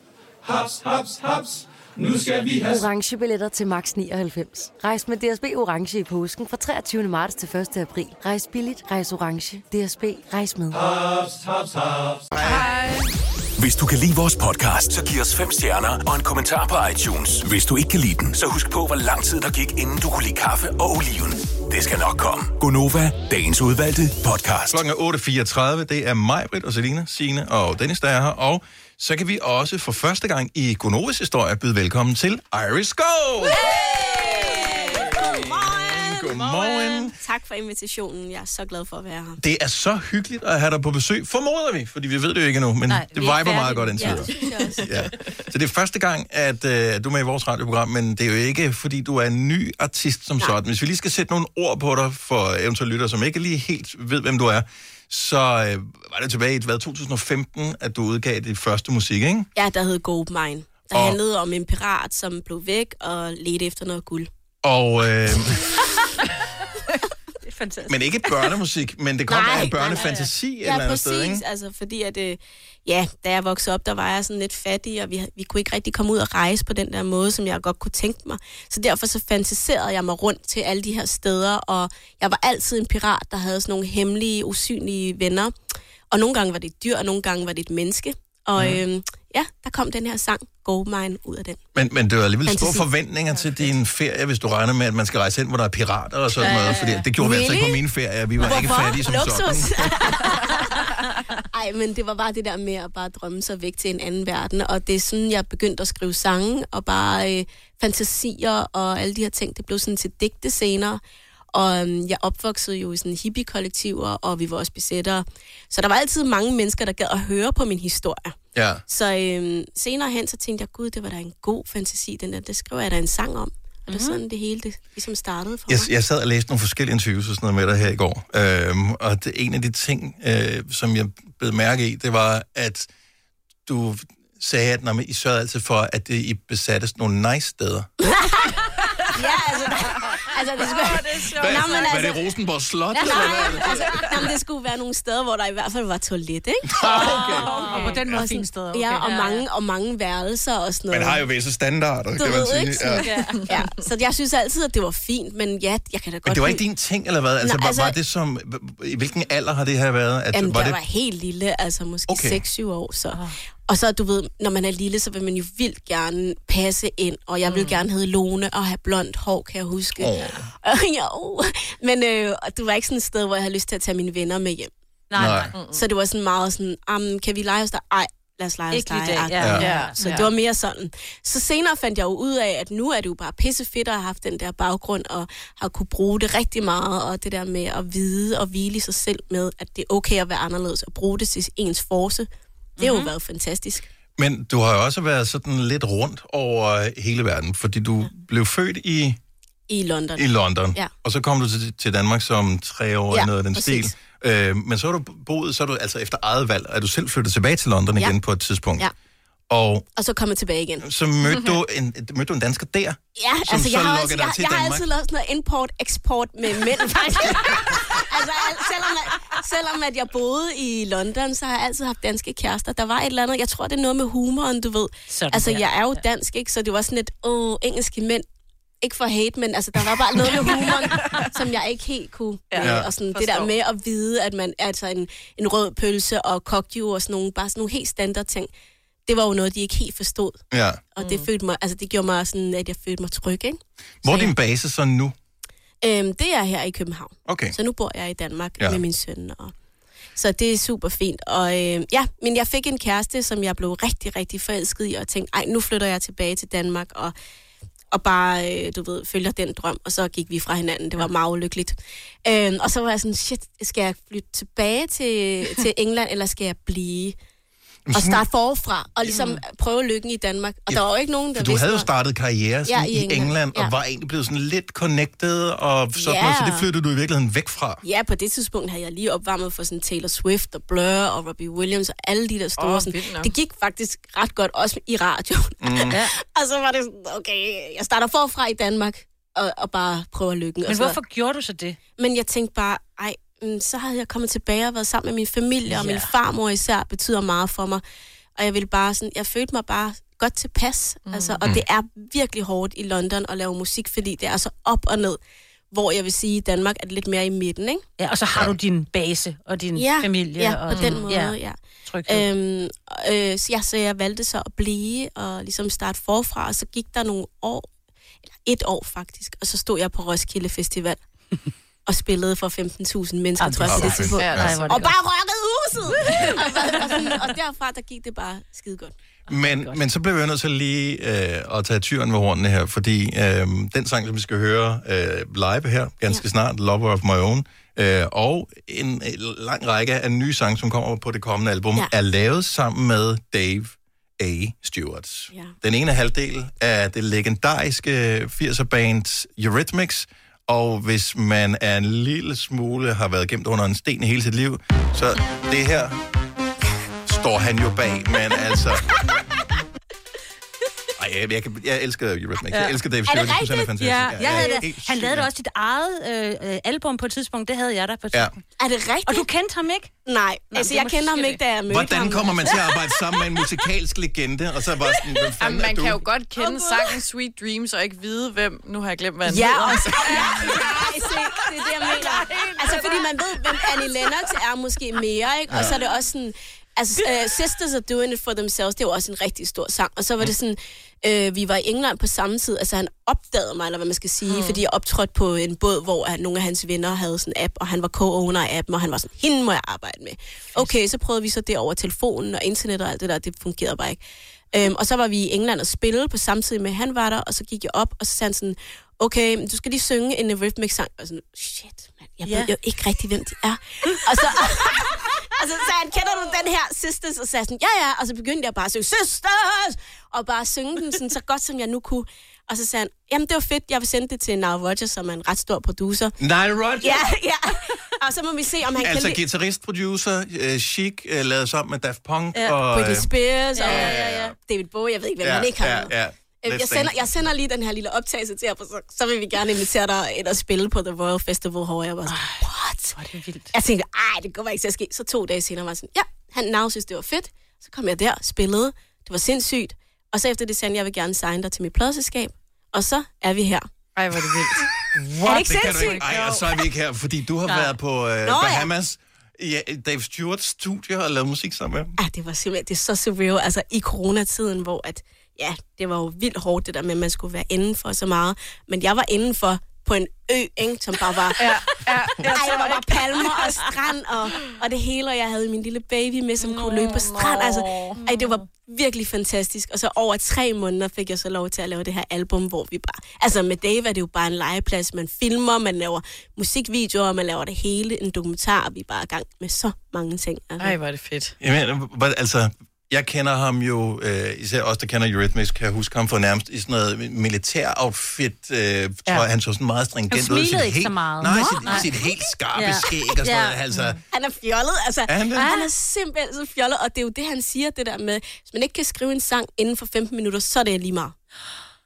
S9: Haps, haps, haps. Nu skal vi have...
S21: orange billetter til max 99. Rejs med DSB orange i påsken fra 23. marts til 1. april. Rejs billigt, rejs orange. DSB rejs med.
S9: Haps, haps, haps.
S12: Hvis du kan lide vores podcast, så giv os fem stjerner og en kommentar på iTunes. Hvis du ikke kan lide den, så husk på, hvor lang tid der gik, inden du kunne lide kaffe og oliven. Det skal nok komme.
S1: Gonova, dagens udvalgte podcast. Klokken er 8.34, det er mig, Britt og Selina, Signe og Dennis, der er her. Og så kan vi også for første gang i Gonovas historie byde velkommen til Iris Go! Hey! Godmorgen.
S7: Tak for invitationen. Jeg er så glad for at være her.
S1: Det er så hyggeligt at have dig på besøg, formoder vi, fordi vi ved det jo ikke endnu, men Nej, det viber meget godt indtil
S7: ja,
S1: videre.
S7: det synes jeg også.
S1: Ja. Så det er første gang, at øh, du er med i vores radioprogram, men det er jo ikke, fordi du er en ny artist som sådan. Hvis vi lige skal sætte nogle ord på dig for eventuelle lyttere, som ikke lige helt ved, hvem du er, så øh, var det tilbage i hvad, 2015, at du udgav det første musik, ikke?
S7: Ja, der hed Gold Mine. Der
S1: Og-
S7: handlede om en pirat, som blev væk og ledte efter noget guld.
S1: Og, øh,
S7: Det er fantastisk.
S1: men ikke børnemusik, men det kom af en børnefantasi et
S7: ja,
S1: eller andet
S7: præcis,
S1: sted, ikke?
S7: altså fordi at, øh, ja, da jeg voksede op, der var jeg sådan lidt fattig, og vi, vi kunne ikke rigtig komme ud og rejse på den der måde, som jeg godt kunne tænke mig. Så derfor så fantaserede jeg mig rundt til alle de her steder, og jeg var altid en pirat, der havde sådan nogle hemmelige, usynlige venner. Og nogle gange var det et dyr, og nogle gange var det et menneske. Og
S1: Mm.
S7: øh, ja, der kom den her sang, Goldmine, ud af den.
S1: Men, men det var alligevel store
S7: Fantasi.
S1: forventninger til din ferie, hvis du regner med, at man skal rejse ind, hvor der er pirater og sådan
S7: Ja,
S1: noget.
S7: ja,
S1: Fordi
S7: ja.
S1: det gjorde really? vi altså ikke på
S7: Really?
S1: mine ferier. Vi var ikke
S7: Hvorfor?
S1: fattige som sådan.
S7: Luksus. Ej, men det var bare det der med at bare drømme sig væk til en anden verden, og det er sådan, jeg begyndte at skrive sange, og bare øh, fantasier og alle de her ting, det blev sådan til digte senere. Og øhm, jeg opvoksede jo i sådan hippie-kollektiver, og vi var også besættere. Så der var altid mange mennesker, der gad at høre på min historie.
S1: Ja.
S7: Så øhm, senere hen, så tænkte jeg, gud, det var da en god fantasi, den der, det skrev jeg da en sang om. Og det er sådan, det hele det, ligesom startede for
S1: Jeg,
S7: mig.
S1: jeg sad og læste nogle forskellige interviews og sådan noget med dig her i går. Øhm, og det, en af de ting, øh, som jeg blev mærke i, det var, at du sagde, at når man, I sørgede altid for, at det, I besatte sådan nogle nice steder.
S7: ja, altså, der, altså det skulle... Oh, det er
S1: Hvad, hvad
S7: altså,
S1: er det, Rosenborg Slot?
S7: Nej,
S1: eller hvad er det?
S7: nej, altså, jamen, det skulle være nogle steder, hvor der i hvert fald var toilet, ikke?
S1: Ah, Okay.
S2: Og på den måde
S7: Og sådan-
S2: fine steder, Ah, okay.
S7: Ja, og
S2: Ja, ja.
S7: mange, og mange værelser og sådan noget.
S1: Man har jo visse standarder,
S7: du
S1: kan man
S7: ved,
S1: sige.
S7: ikke? Sådan, ja. ja. Så jeg synes altid, at det var fint, men ja, jeg kan da godt
S1: Men det var ikke
S7: lide-
S1: din ting, eller hvad? Altså,
S7: Nej,
S1: Nej, altså,
S7: altså-
S1: var, var det som... I hvilken alder har det her været? At,
S7: Jamen,
S1: var
S7: jeg
S1: det...
S7: var helt lille, altså måske
S1: Okay.
S7: okay. 6-7 år. Så.
S1: Ah.
S7: Og så, du ved, når man er lille, så vil man jo vildt gerne passe ind, og jeg
S1: Mm.
S7: vil gerne hedde Lone og have blondt hår, kan jeg huske.
S1: Åh.
S7: jo. Men øh, og det var ikke sådan et sted, hvor jeg havde lyst til at tage mine venner med hjem.
S1: Nej, nej. Nej.
S7: Så det var sådan meget sådan, "Am, kan vi lege hos dig? Ej, lad os lege
S3: Ikke
S7: hos
S3: lige
S7: dig.
S3: i dag, ja.
S7: agtigt.
S3: Ja.
S7: Så
S3: Ja.
S7: det var mere sådan. Så senere fandt jeg jo ud af, at nu er det jo bare pissefedt at have haft den der baggrund, og har kunne bruge det rigtig meget, og det der med at vide og hvile i sig selv med, at det er okay at være anderledes, og bruge det til ens force. Det
S3: Mhm.
S7: har jo været fantastisk.
S1: Men du har jo også været sådan lidt rundt over hele verden, fordi du ja. blev født i,
S7: I London.
S1: i London,
S7: Ja.
S1: og så kom du til, til Danmark som tre år eller
S7: Ja,
S1: noget af den
S7: præcis.
S1: stil. Øh, men så har du boet, så er du altså efter eget valg, er du selv flyttet tilbage til London
S7: Ja.
S1: igen på et tidspunkt.
S7: Ja.
S1: Og
S7: Og så kom jeg tilbage igen.
S1: så mødte du, en, mødte du en dansker der.
S7: Ja,
S1: som
S7: altså
S1: så
S7: jeg har,
S1: lokker
S7: også,
S1: dig
S7: jeg,
S1: til
S7: jeg har
S1: Danmark?
S7: altid lavet sådan noget import-eksport med mænd, faktisk. altså al- selvom, at, selvom at jeg boede i London, så har jeg altid haft danske kærester. Der var et eller andet, jeg tror det er noget med humoren, du ved.
S3: Sådan
S7: altså
S3: der.
S7: jeg er jo dansk, ikke? Så det var sådan et, åh, engelske mænd. Ikke for hate, men altså, der var bare noget med humoren, som jeg ikke helt kunne.
S3: Ja,
S7: Ja, og sådan det der
S3: forstår.
S7: med at vide, at man altså en, en rød pølse og kokju og sådan nogle, bare sådan nogle helt standard ting. Det var jo noget, de ikke helt forstod.
S1: Ja.
S7: Og det,
S1: Mm.
S7: følte mig, altså det gjorde mig sådan, at jeg følte mig tryg, ikke?
S1: Hvor er din base så nu?
S7: Øhm, det er her i København.
S1: Okay.
S7: Så nu bor jeg i Danmark
S1: Ja.
S7: ja. med min søn. Og... Så det er super fint. Og øh, ja, men jeg fik en kæreste, som jeg blev rigtig, rigtig forelsket i, og tænkte, ej, nu flytter jeg tilbage til Danmark, og, og bare, øh, du ved, følger den drøm. Og så gik vi fra hinanden. Det var meget ulykkeligt. Øhm, og så var jeg sådan, shit, skal jeg flytte tilbage til, til England, eller skal jeg blive? Og starte forfra, og ligesom prøve lykken i Danmark. Og der var jo ikke nogen, der
S1: For du havde jo
S7: noget.
S1: startet karriere sådan
S7: Ja,
S1: ja,
S7: i
S1: i, England,
S7: England.
S1: og
S7: Ja.
S1: var egentlig blevet sådan lidt connected, og sådan
S7: Ja.
S1: noget, så det flyttede du i virkeligheden væk fra.
S7: Ja, på det tidspunkt havde jeg lige opvarmet for sådan Taylor Swift og Blur og Robbie Williams og alle de der store.
S3: Åh,
S7: Oh, sådan.
S3: vildt nok.
S7: Det gik faktisk ret godt, også i radioen.
S3: Mm. Ja.
S7: og så var det sådan, okay, jeg starter forfra i Danmark og, og bare prøver lykken.
S3: Men
S7: og sådan
S3: hvorfor
S7: noget.
S3: gjorde du så det?
S7: Men jeg tænkte bare, ej, mm, så havde jeg kommet tilbage og været sammen med min familie, og min
S3: Ja.
S7: farmor især betyder meget for mig. Og jeg ville bare sådan, jeg følte mig bare godt tilpas. Mm. Altså, og
S3: Mm.
S7: det er virkelig hårdt i London at lave musik, fordi det er så op og ned. Hvor jeg vil sige, i Danmark er det lidt mere i midten, ikke?
S3: Ja, og så har ja. du din base og din
S7: ja,
S3: familie.
S7: Ja,
S3: og
S7: på den måde, ja. ja.
S3: Tryghed.
S7: Øhm, øh, så, ja, så jeg valgte så at blive og ligesom starte forfra, og så gik der nogle år, eller et år faktisk, og så stod jeg på Roskilde Festival og spillede for 15.000 mennesker,
S3: Ej,
S7: tror jeg,
S3: hvor
S7: på det
S3: Ah, fedt.
S7: tidspunkt.
S3: Ja, nej, hvor er det
S7: og bare
S3: godt.
S7: rockede huset! og, og, sådan, og derfra, der gik det bare skide godt.
S1: Men, men så bliver vi jo nødt til lige øh, at tage tyren ved hornene her, fordi øh, den sang, som vi skal høre øh, live her ganske ja. snart, Lover of My Own, øh, og en øh, lang række af nye sange, som kommer på det kommende album,
S11: Ja.
S1: ja. er lavet sammen med Dave A. Stewart.
S11: Ja.
S1: Den ene halvdel af det legendariske 80'er-band Eurythmics, og hvis man er en lille smule har været gemt under en sten hele sit liv, så det her står han jo bag, men altså... Ej, jeg, jeg, kan- jeg elsker Eurythmics. Ja. Jeg elsker Dave Stewart.
S3: Er det
S1: Jeg synes, han er
S3: rigtigt?
S1: fantastisk.
S3: Ja, jeg havde det.
S1: helt
S3: Han lavede
S1: syg.
S3: da også sit eget øh, øh, album på et tidspunkt. Det havde jeg der på et
S1: Ja.
S3: tidspunkt.
S7: Er det rigtigt?
S3: Og du kendte ham ikke?
S7: Nej, altså, jeg kender ham ikke, da jeg mødte
S1: Hvordan kommer man til at arbejde sammen med en musikalsk legende, og så bare sådan, hvem
S4: Jamen,
S1: fanden
S4: man
S1: er du?
S4: kan jo godt kende sangen Sweet Dreams og ikke vide, hvem... Nu har jeg glemt, hvad han
S7: Ja,
S4: hedder.
S7: og så- Nej, se, det er det, jeg mener. Altså, fordi man ved, hvem Annie Lennox er måske mere, ikke? Og
S4: Ja.
S7: så er det også sådan... Altså, uh, Sisters Are Doing It For Themselves, det var også en rigtig stor sang. Og så var det sådan, øh, vi var i England på samme tid, altså han opdagede mig, eller hvad man skal sige, fordi jeg optrådte på en båd, hvor han, nogle af hans venner havde sådan en app, og han var co-owner af appen, og han var sådan, hende må jeg arbejde med. Okay, så prøvede vi så det over telefonen og internet og alt det der, det fungerede bare ikke. Øhm, og så var vi i England og spillede på samtidig med, at han var der, og så gik jeg op, og så sagde han sådan, okay, men du skal lige synge en øh, Eurythmics-sang. Og sådan, shit, mand, jeg
S20: Ja.
S7: ved jo ikke rigtig, hvem de er. og så... Og altså, så sagde han, kender du den her Sisters? Og så sagde jeg sådan, ja, ja. Og så begyndte jeg bare at synge, Sisters! Og bare synge den sådan, så godt, som jeg nu kunne. Og så sagde han, jamen det var fedt, jeg vil sende det til Nile Rodgers, som er en ret stor producer.
S1: Nile Rodgers?
S7: Ja, ja. Og så må vi se, om han
S1: Altså
S7: kan lide-
S1: guitarist, producer, øh, Chic, øh, lavet sammen med Daft Punk
S7: Ja,
S1: og... øh,
S7: Britney Spears og
S1: Ja, ja, ja.
S7: David Bowie, jeg ved ikke, hvem han ikke har med.
S1: ja, ja.
S7: Øh,
S1: Let's
S7: Jeg sender,
S1: Dance.
S7: jeg sender lige den her lille optagelse til jer, for så, så vil vi gerne invitere dig ind og spille på The Royal Festival Hall. Jeg var sådan, what?
S3: Hvor er det vildt.
S7: Jeg tænkte, ej, det kommer ikke til at ske. Så to dage senere var jeg sådan, ja, han nav synes, det var fedt. Så kom jeg der, spillede, det var sindssygt. Og så efter det sagde han, jeg vil gerne signe dig til mit pladselskab. Og så er vi her.
S4: Ej, hvor er det vildt.
S7: Er det ikke
S1: Det kan du
S7: sindssygt?
S1: ikke. Ej, og så er vi ikke her, fordi du har
S7: Nej.
S1: været på øh,
S7: Nå, ja.
S1: Bahamas i øh, Dave Stewarts studie og lavet musik sammen med ham.
S7: Ah, det var simpelthen det er så surreal. Altså i coronatiden, hvor at, ja, det var jo vildt hårdt det der med, at man skulle være indenfor så meget. Men jeg var indenfor på en ø, ikke, som bare var... ja, ja,
S20: jeg
S7: Ej, der
S20: tror
S7: var bare
S20: ikke.
S7: palmer og strand og, og det hele, og jeg havde min lille baby med, som kunne løbe på strand. Altså, ej, det var virkelig fantastisk. Og så over tre måneder fik jeg så lov til at lave det her album, hvor vi bare... Altså med Dave er det jo bare en legeplads. Man filmer, man laver musikvideoer, man laver det hele, en dokumentar, og vi er bare i gang med så mange ting. Altså.
S4: Ej, hvor er det fedt.
S1: Jamen, hvor- altså, jeg kender ham jo, øh, især os, der kender Eurythmics, kan jeg huske ham for nærmest i sådan noget militær-outfit. Øh, ja.
S3: Ja.
S1: Han så sådan meget stringent ud.
S3: Han smilede
S1: Sit
S3: ikke så meget.
S1: Nej,
S3: Nå,
S1: sit,
S3: nej.
S1: sit helt skarpe
S7: Ja.
S1: skæg og sådan
S7: Ja. Mm.
S1: noget. Altså,
S7: Han er fjollet, altså.
S1: Er han det?
S7: han er simpelthen så fjollet, og det er jo det, han siger, det der med, hvis man ikke kan skrive en sang inden for 15 minutter, så er det lige meget.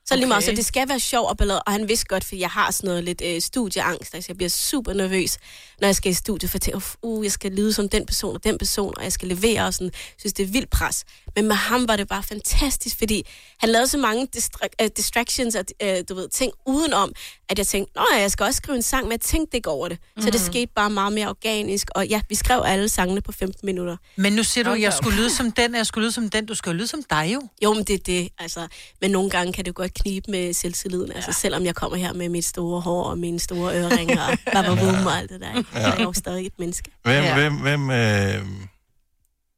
S7: Så er det lige meget,
S14: Okay.
S7: så det skal være sjov og ballade, og han vidste godt, for jeg har sådan noget lidt øh, studieangst, altså jeg bliver super nervøs, når jeg skal i studiet, for jeg tænker, "Uf, uh, jeg skal lyde som den person og den person, og jeg skal levere, og sådan, Jeg synes det er vildt pres. Men med ham var det bare fantastisk, fordi han lavede så mange distra- øh, distractions og øh, du ved, ting udenom, at jeg tænkte, nå ja, jeg skal også skrive en sang, men jeg tænkte ikke over det. Så det
S2: Mhm.
S7: skete bare meget mere organisk, og ja, vi skrev alle sangene på 15 minutter.
S2: Men nu siger du, jeg skulle lyde som den, og jeg skulle lyde som den. Du skal jo lyde som dig jo.
S7: Jo, men det er det, altså. Men nogle gange kan det jo godt knibe med selvtilliden, ja. altså selvom jeg kommer her med mit store hår og mine store øreringer og bababum og alt det der, ikke?
S1: Ja.
S7: Ja. jeg er jo stadig et menneske.
S1: Hvem, ja. hvem, hvem, øh,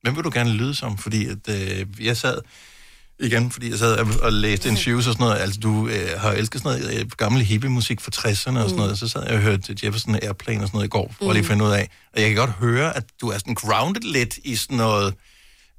S1: hvem vil du gerne lyde som? Fordi at, øh, jeg sad, igen, fordi jeg sad og, og læste interviews og sådan noget, altså du øh, har elsket sådan noget øh, gammel hippie-musik fra 60'erne og sådan
S22: Mm.
S1: noget, så sad jeg og hørte Jefferson Airplane og sådan noget i går, for lige at
S22: Mm.
S1: finde ud af, og jeg kan godt høre, at du er sådan grounded lidt i sådan noget,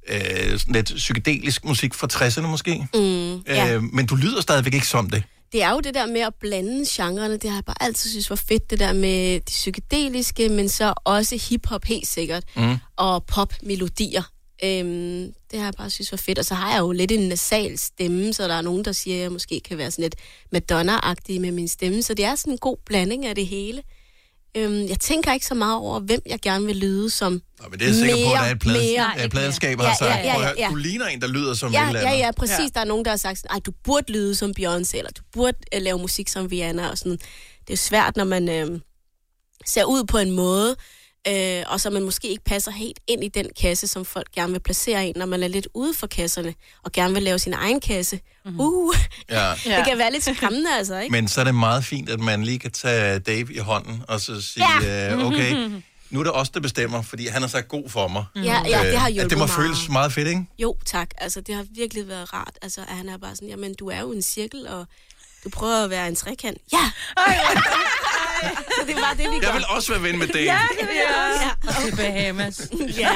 S1: øh, sådan lidt psykedelisk musik fra 60'erne måske,
S7: Mm, ja.
S1: øh, men du lyder stadigvæk ikke som det.
S7: Det er jo det der med at blande genrerne, det har jeg bare altid synes var fedt, det der med det psykedeliske, men så også hiphop helt sikkert,
S1: Mm.
S7: og popmelodier. Øhm, det har jeg bare synes var fedt, og så har jeg jo lidt en nasal stemme, så der er nogen, der siger, at jeg måske kan være sådan lidt Madonna-agtig med min stemme, så det er sådan en god blanding af det hele. Øhm, jeg tænker ikke så meget over, hvem jeg gerne vil lyde som
S1: Nå, Men det er jeg sikker på, at der er et plades,
S7: mere,
S1: øh, pladeskab,
S7: Ja,
S1: har sagt,
S7: ja, ja,
S1: "Prøv at høre,
S7: ja.
S1: du ligner en, der lyder som et
S7: ja,
S1: eller
S7: ja,
S1: andet.
S7: ja, præcis. Ja. Der er nogen, der har sagt, sådan, "Ej, du burde lyde som Beyoncé, eller du burde uh, lave musik som Rihanna, og sådan. Det er jo svært, når man øh, ser ud på en måde, øh, og så man måske ikke passer helt ind i den kasse, som folk gerne vil placere en, når man er lidt ude for kasserne, og gerne vil lave sin egen kasse. Mm-hmm. Uh,
S1: Ja.
S7: ja. det kan være lidt skræmmende, altså, ikke? Mhm.
S1: Men så er det meget fint, at man lige kan tage Dave i hånden og så sige, ja. øh, okay, nu er det os, der bestemmer, fordi han har sagt god for mig.
S7: Ja, ja, det har
S1: Øh, At
S7: hjulpet
S1: det må
S7: meget.
S1: føles meget fedt, ikke?
S7: Jo, tak. Altså, det har virkelig været rart. Altså, at han er bare sådan, jamen, du er jo en cirkel, og du prøver at være en trekant. Ja! Så det var det, vi
S1: Jeg
S7: gør.
S1: vil også være ven med Dave.
S3: Og til Bahamas.
S7: ja.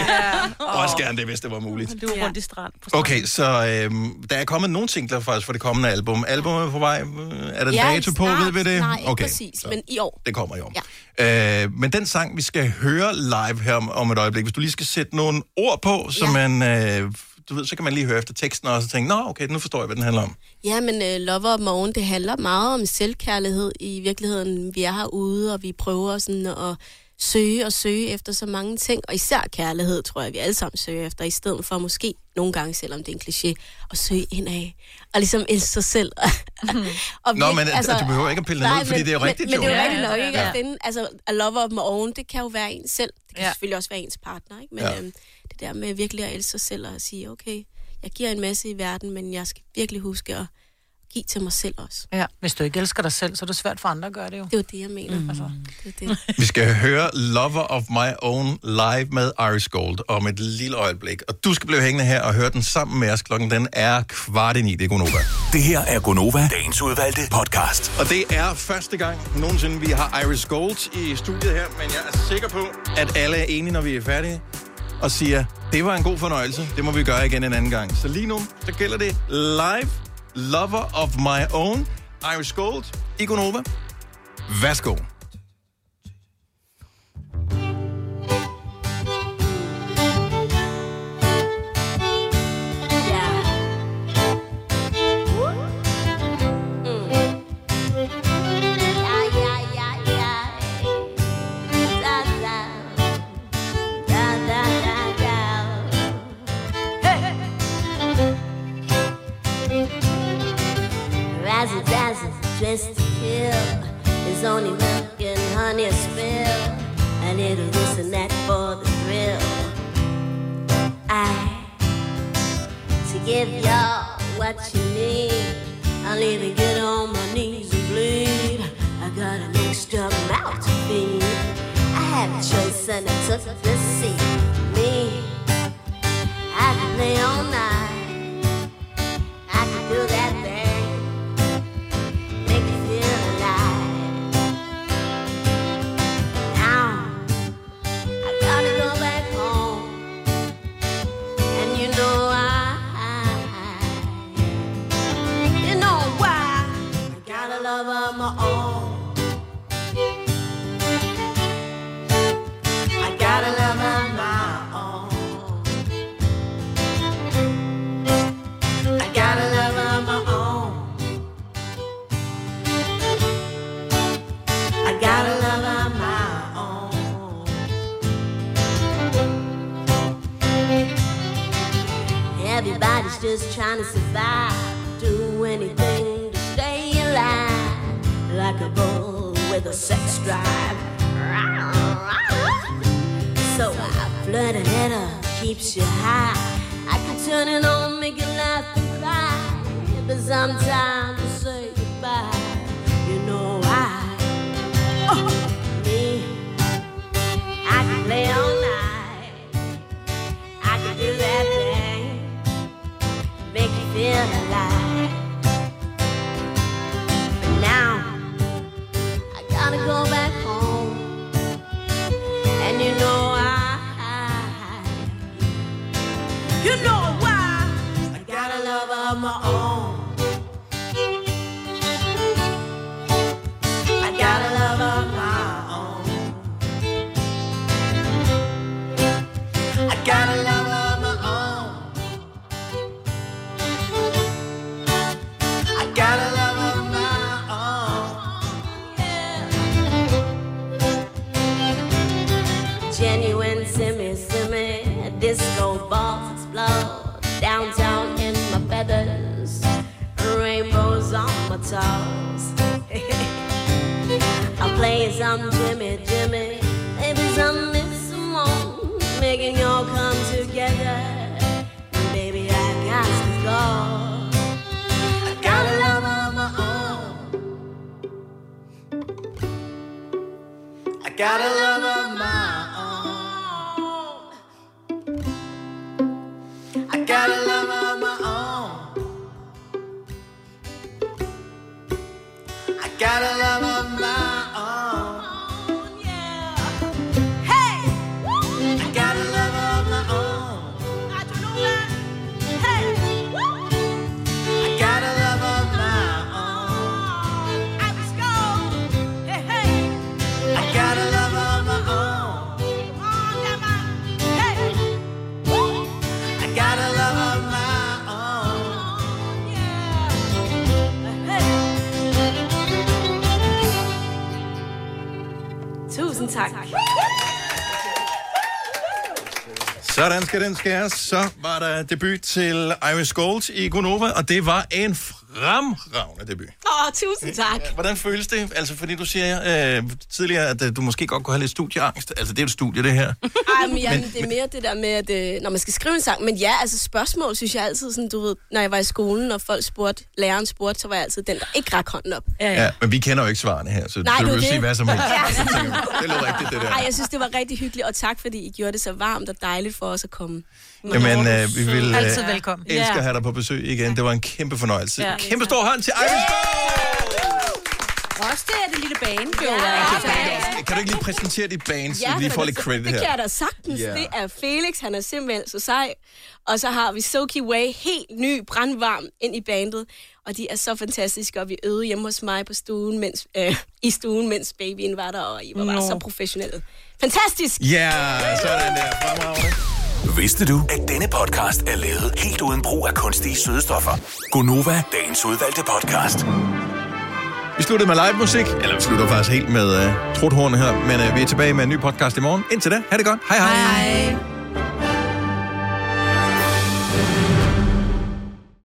S1: Også gerne det, hvis det var muligt.
S3: Du er rundt i strand.
S1: Okay, så øhm, der er kommet nogle singler faktisk for det kommende album. Albumet er på vej. Øh, Er der
S7: ja,
S1: dato på?
S7: snart.
S1: Ved vi det?
S7: Nej, ikke
S1: okay,
S7: præcis, men i år.
S1: det kommer i år. Ja. Øh, men den sang, vi skal høre live her om, om et øjeblik, hvis du lige skal sætte nogle ord på, så, ja. man, øh, du ved, så kan man lige høre efter teksten og så tænke, nå okay, nu forstår jeg, hvad den handler om.
S7: Ja, men øh, Lover og Morgen, det handler meget om selvkærlighed i virkeligheden. Vi er herude, og vi prøver sådan at søge og søge efter så mange ting, og især kærlighed, tror jeg, vi alle sammen søger efter, i stedet for måske nogle gange, selvom det er en kliché, at søge indad, og ligesom elske sig selv.
S3: Mhm.
S1: Nå, men, altså, du behøver ikke at pille det ned, fordi det er rigtigt,
S7: men, men det er
S1: jo.
S7: jo rigtigt nok, ikke?
S1: Ja.
S7: At finde, altså, at love op med oven, det kan jo være en selv. Det kan ja. selvfølgelig også være ens partner, ikke? Men
S1: Ja.
S7: ja. øhm, det der med virkelig at elske sig selv og at sige, okay, jeg giver en masse i verden, men jeg skal virkelig huske at give til mig selv også.
S2: Ja. Hvis du ikke elsker dig selv, så er det svært for andre at gøre det jo. Det
S7: er jo det, jeg mener. Mm. Altså, det er det.
S1: Vi skal høre Lover of My Own live med Iris Gold om et lille øjeblik. Og du skal blive hængende her og høre den sammen med os. Klokken den er kvart i ni. Det er Gunova.
S12: Det her er Gonova, dagens udvalgte podcast.
S1: Og det er første gang nogensinde, vi har Iris Gold i studiet her, men jeg er sikker på, at alle er enige, når vi er færdige, og siger, det var en god fornøjelse, det må vi gøre igen en anden gang. Så lige nu, så gælder det live Lover of My Own, Iris Gold, Igonova. Værsgo.
S20: Razzle dazzle, dressed to kill. There's only milk and honey to spill. A little this and that for the thrill. I to give y'all what you need. I need to get on my knees and bleed. I got an extra mouth to feed. I had a choice and I took the seat. Me, I could play all night. I could do that thing, make you feel alive. Now I gotta go back home, and you know I, you know why I got a love of my own. I got a love of my own. I got a love of my own. I got a love of my own. Everybody's just trying to survive, do anything to stay alive, like a bull with a sex drive. So I flood a header, keeps you high. I can turn it on, make you laugh and cry, but sometimes I say goodbye. You know I. Me, I can play all night. I can do that thing, make you feel alive. But now I gotta go back home, and you know I, you know why I got a love of my own. I got a love of my own. I got a love of my own. I got a love of my own. Yeah. Genuine semi semi disco balls explode downtown in my feathers, rainbows on my toes. I'm playing some Jimmy Jimmy, maybe some Miss Simone, making y'all come together. And Baby, I got to go. I got a love of my own. I got a love of my own.
S7: Tusind tak.
S1: Sådan skal den skæres. Så var der debut til Iris Gold i Gonova, og det var en fremragende debut.
S7: Åh, oh, tusind tak.
S1: Øh, Hvordan føles det? Altså, fordi du siger øh, tidligere, at øh, du måske godt kunne have lidt studieangst. Altså, det er jo et studie, det her.
S7: Ej, men, jamen, det er mere det der med, at øh, når man skal skrive en sang. Men ja, altså spørgsmål synes jeg altid, sådan, du ved, når jeg var i skolen, og folk spurgte, læreren spurgte, så var jeg altid den, der ikke rak hånden op.
S1: Ja, ja men vi kender jo ikke svarene her, så
S7: Nej,
S1: du
S7: det er
S1: kan jo
S7: det.
S1: sige hvad som helst.
S7: Ja.
S1: Så tænker man, Det lyder rigtigt, det der.
S7: Ej, jeg synes, det var rigtig hyggeligt, og tak, fordi I gjorde det så varmt og dejligt for os at komme.
S1: Jamen, øh, vi vil øh,
S7: Altid velkommen.
S1: elske
S7: Ja.
S1: at have dig på besøg igen. Det var en kæmpe fornøjelse.
S3: Ja.
S1: Kæmpe stor hånd til Iris
S3: Også det er det lille bane, jo.
S1: Gold. Kan du ikke lige præsentere dit band, så
S7: Ja,
S1: vi lige
S7: for
S1: får
S7: det-
S1: lidt credit
S7: det
S1: her?
S7: kan jeg da sagtens.
S1: Ja.
S7: Yeah. Det er Felix, han er simpelthen så sej. Og så har vi Soki Way, helt ny, brandvarm ind i bandet. Og de er så fantastiske, og vi øvede hjemme hos mig på stuen, mens, øh, i stuen, mens babyen var der, og I var bare
S6: Nå.
S7: så professionelle. Fantastisk!
S1: Ja, sådan der. Fremragende.
S12: Vidste du, at denne podcast er lavet helt uden brug af kunstige sødestoffer? Gonova, dagens udvalgte podcast.
S1: Vi slutter med live musik, eller vi slutter øh, faktisk helt med uh, truthornet her, men uh, vi er tilbage med en ny podcast i morgen. Indtil da, ha' det godt. Hej hej. hej.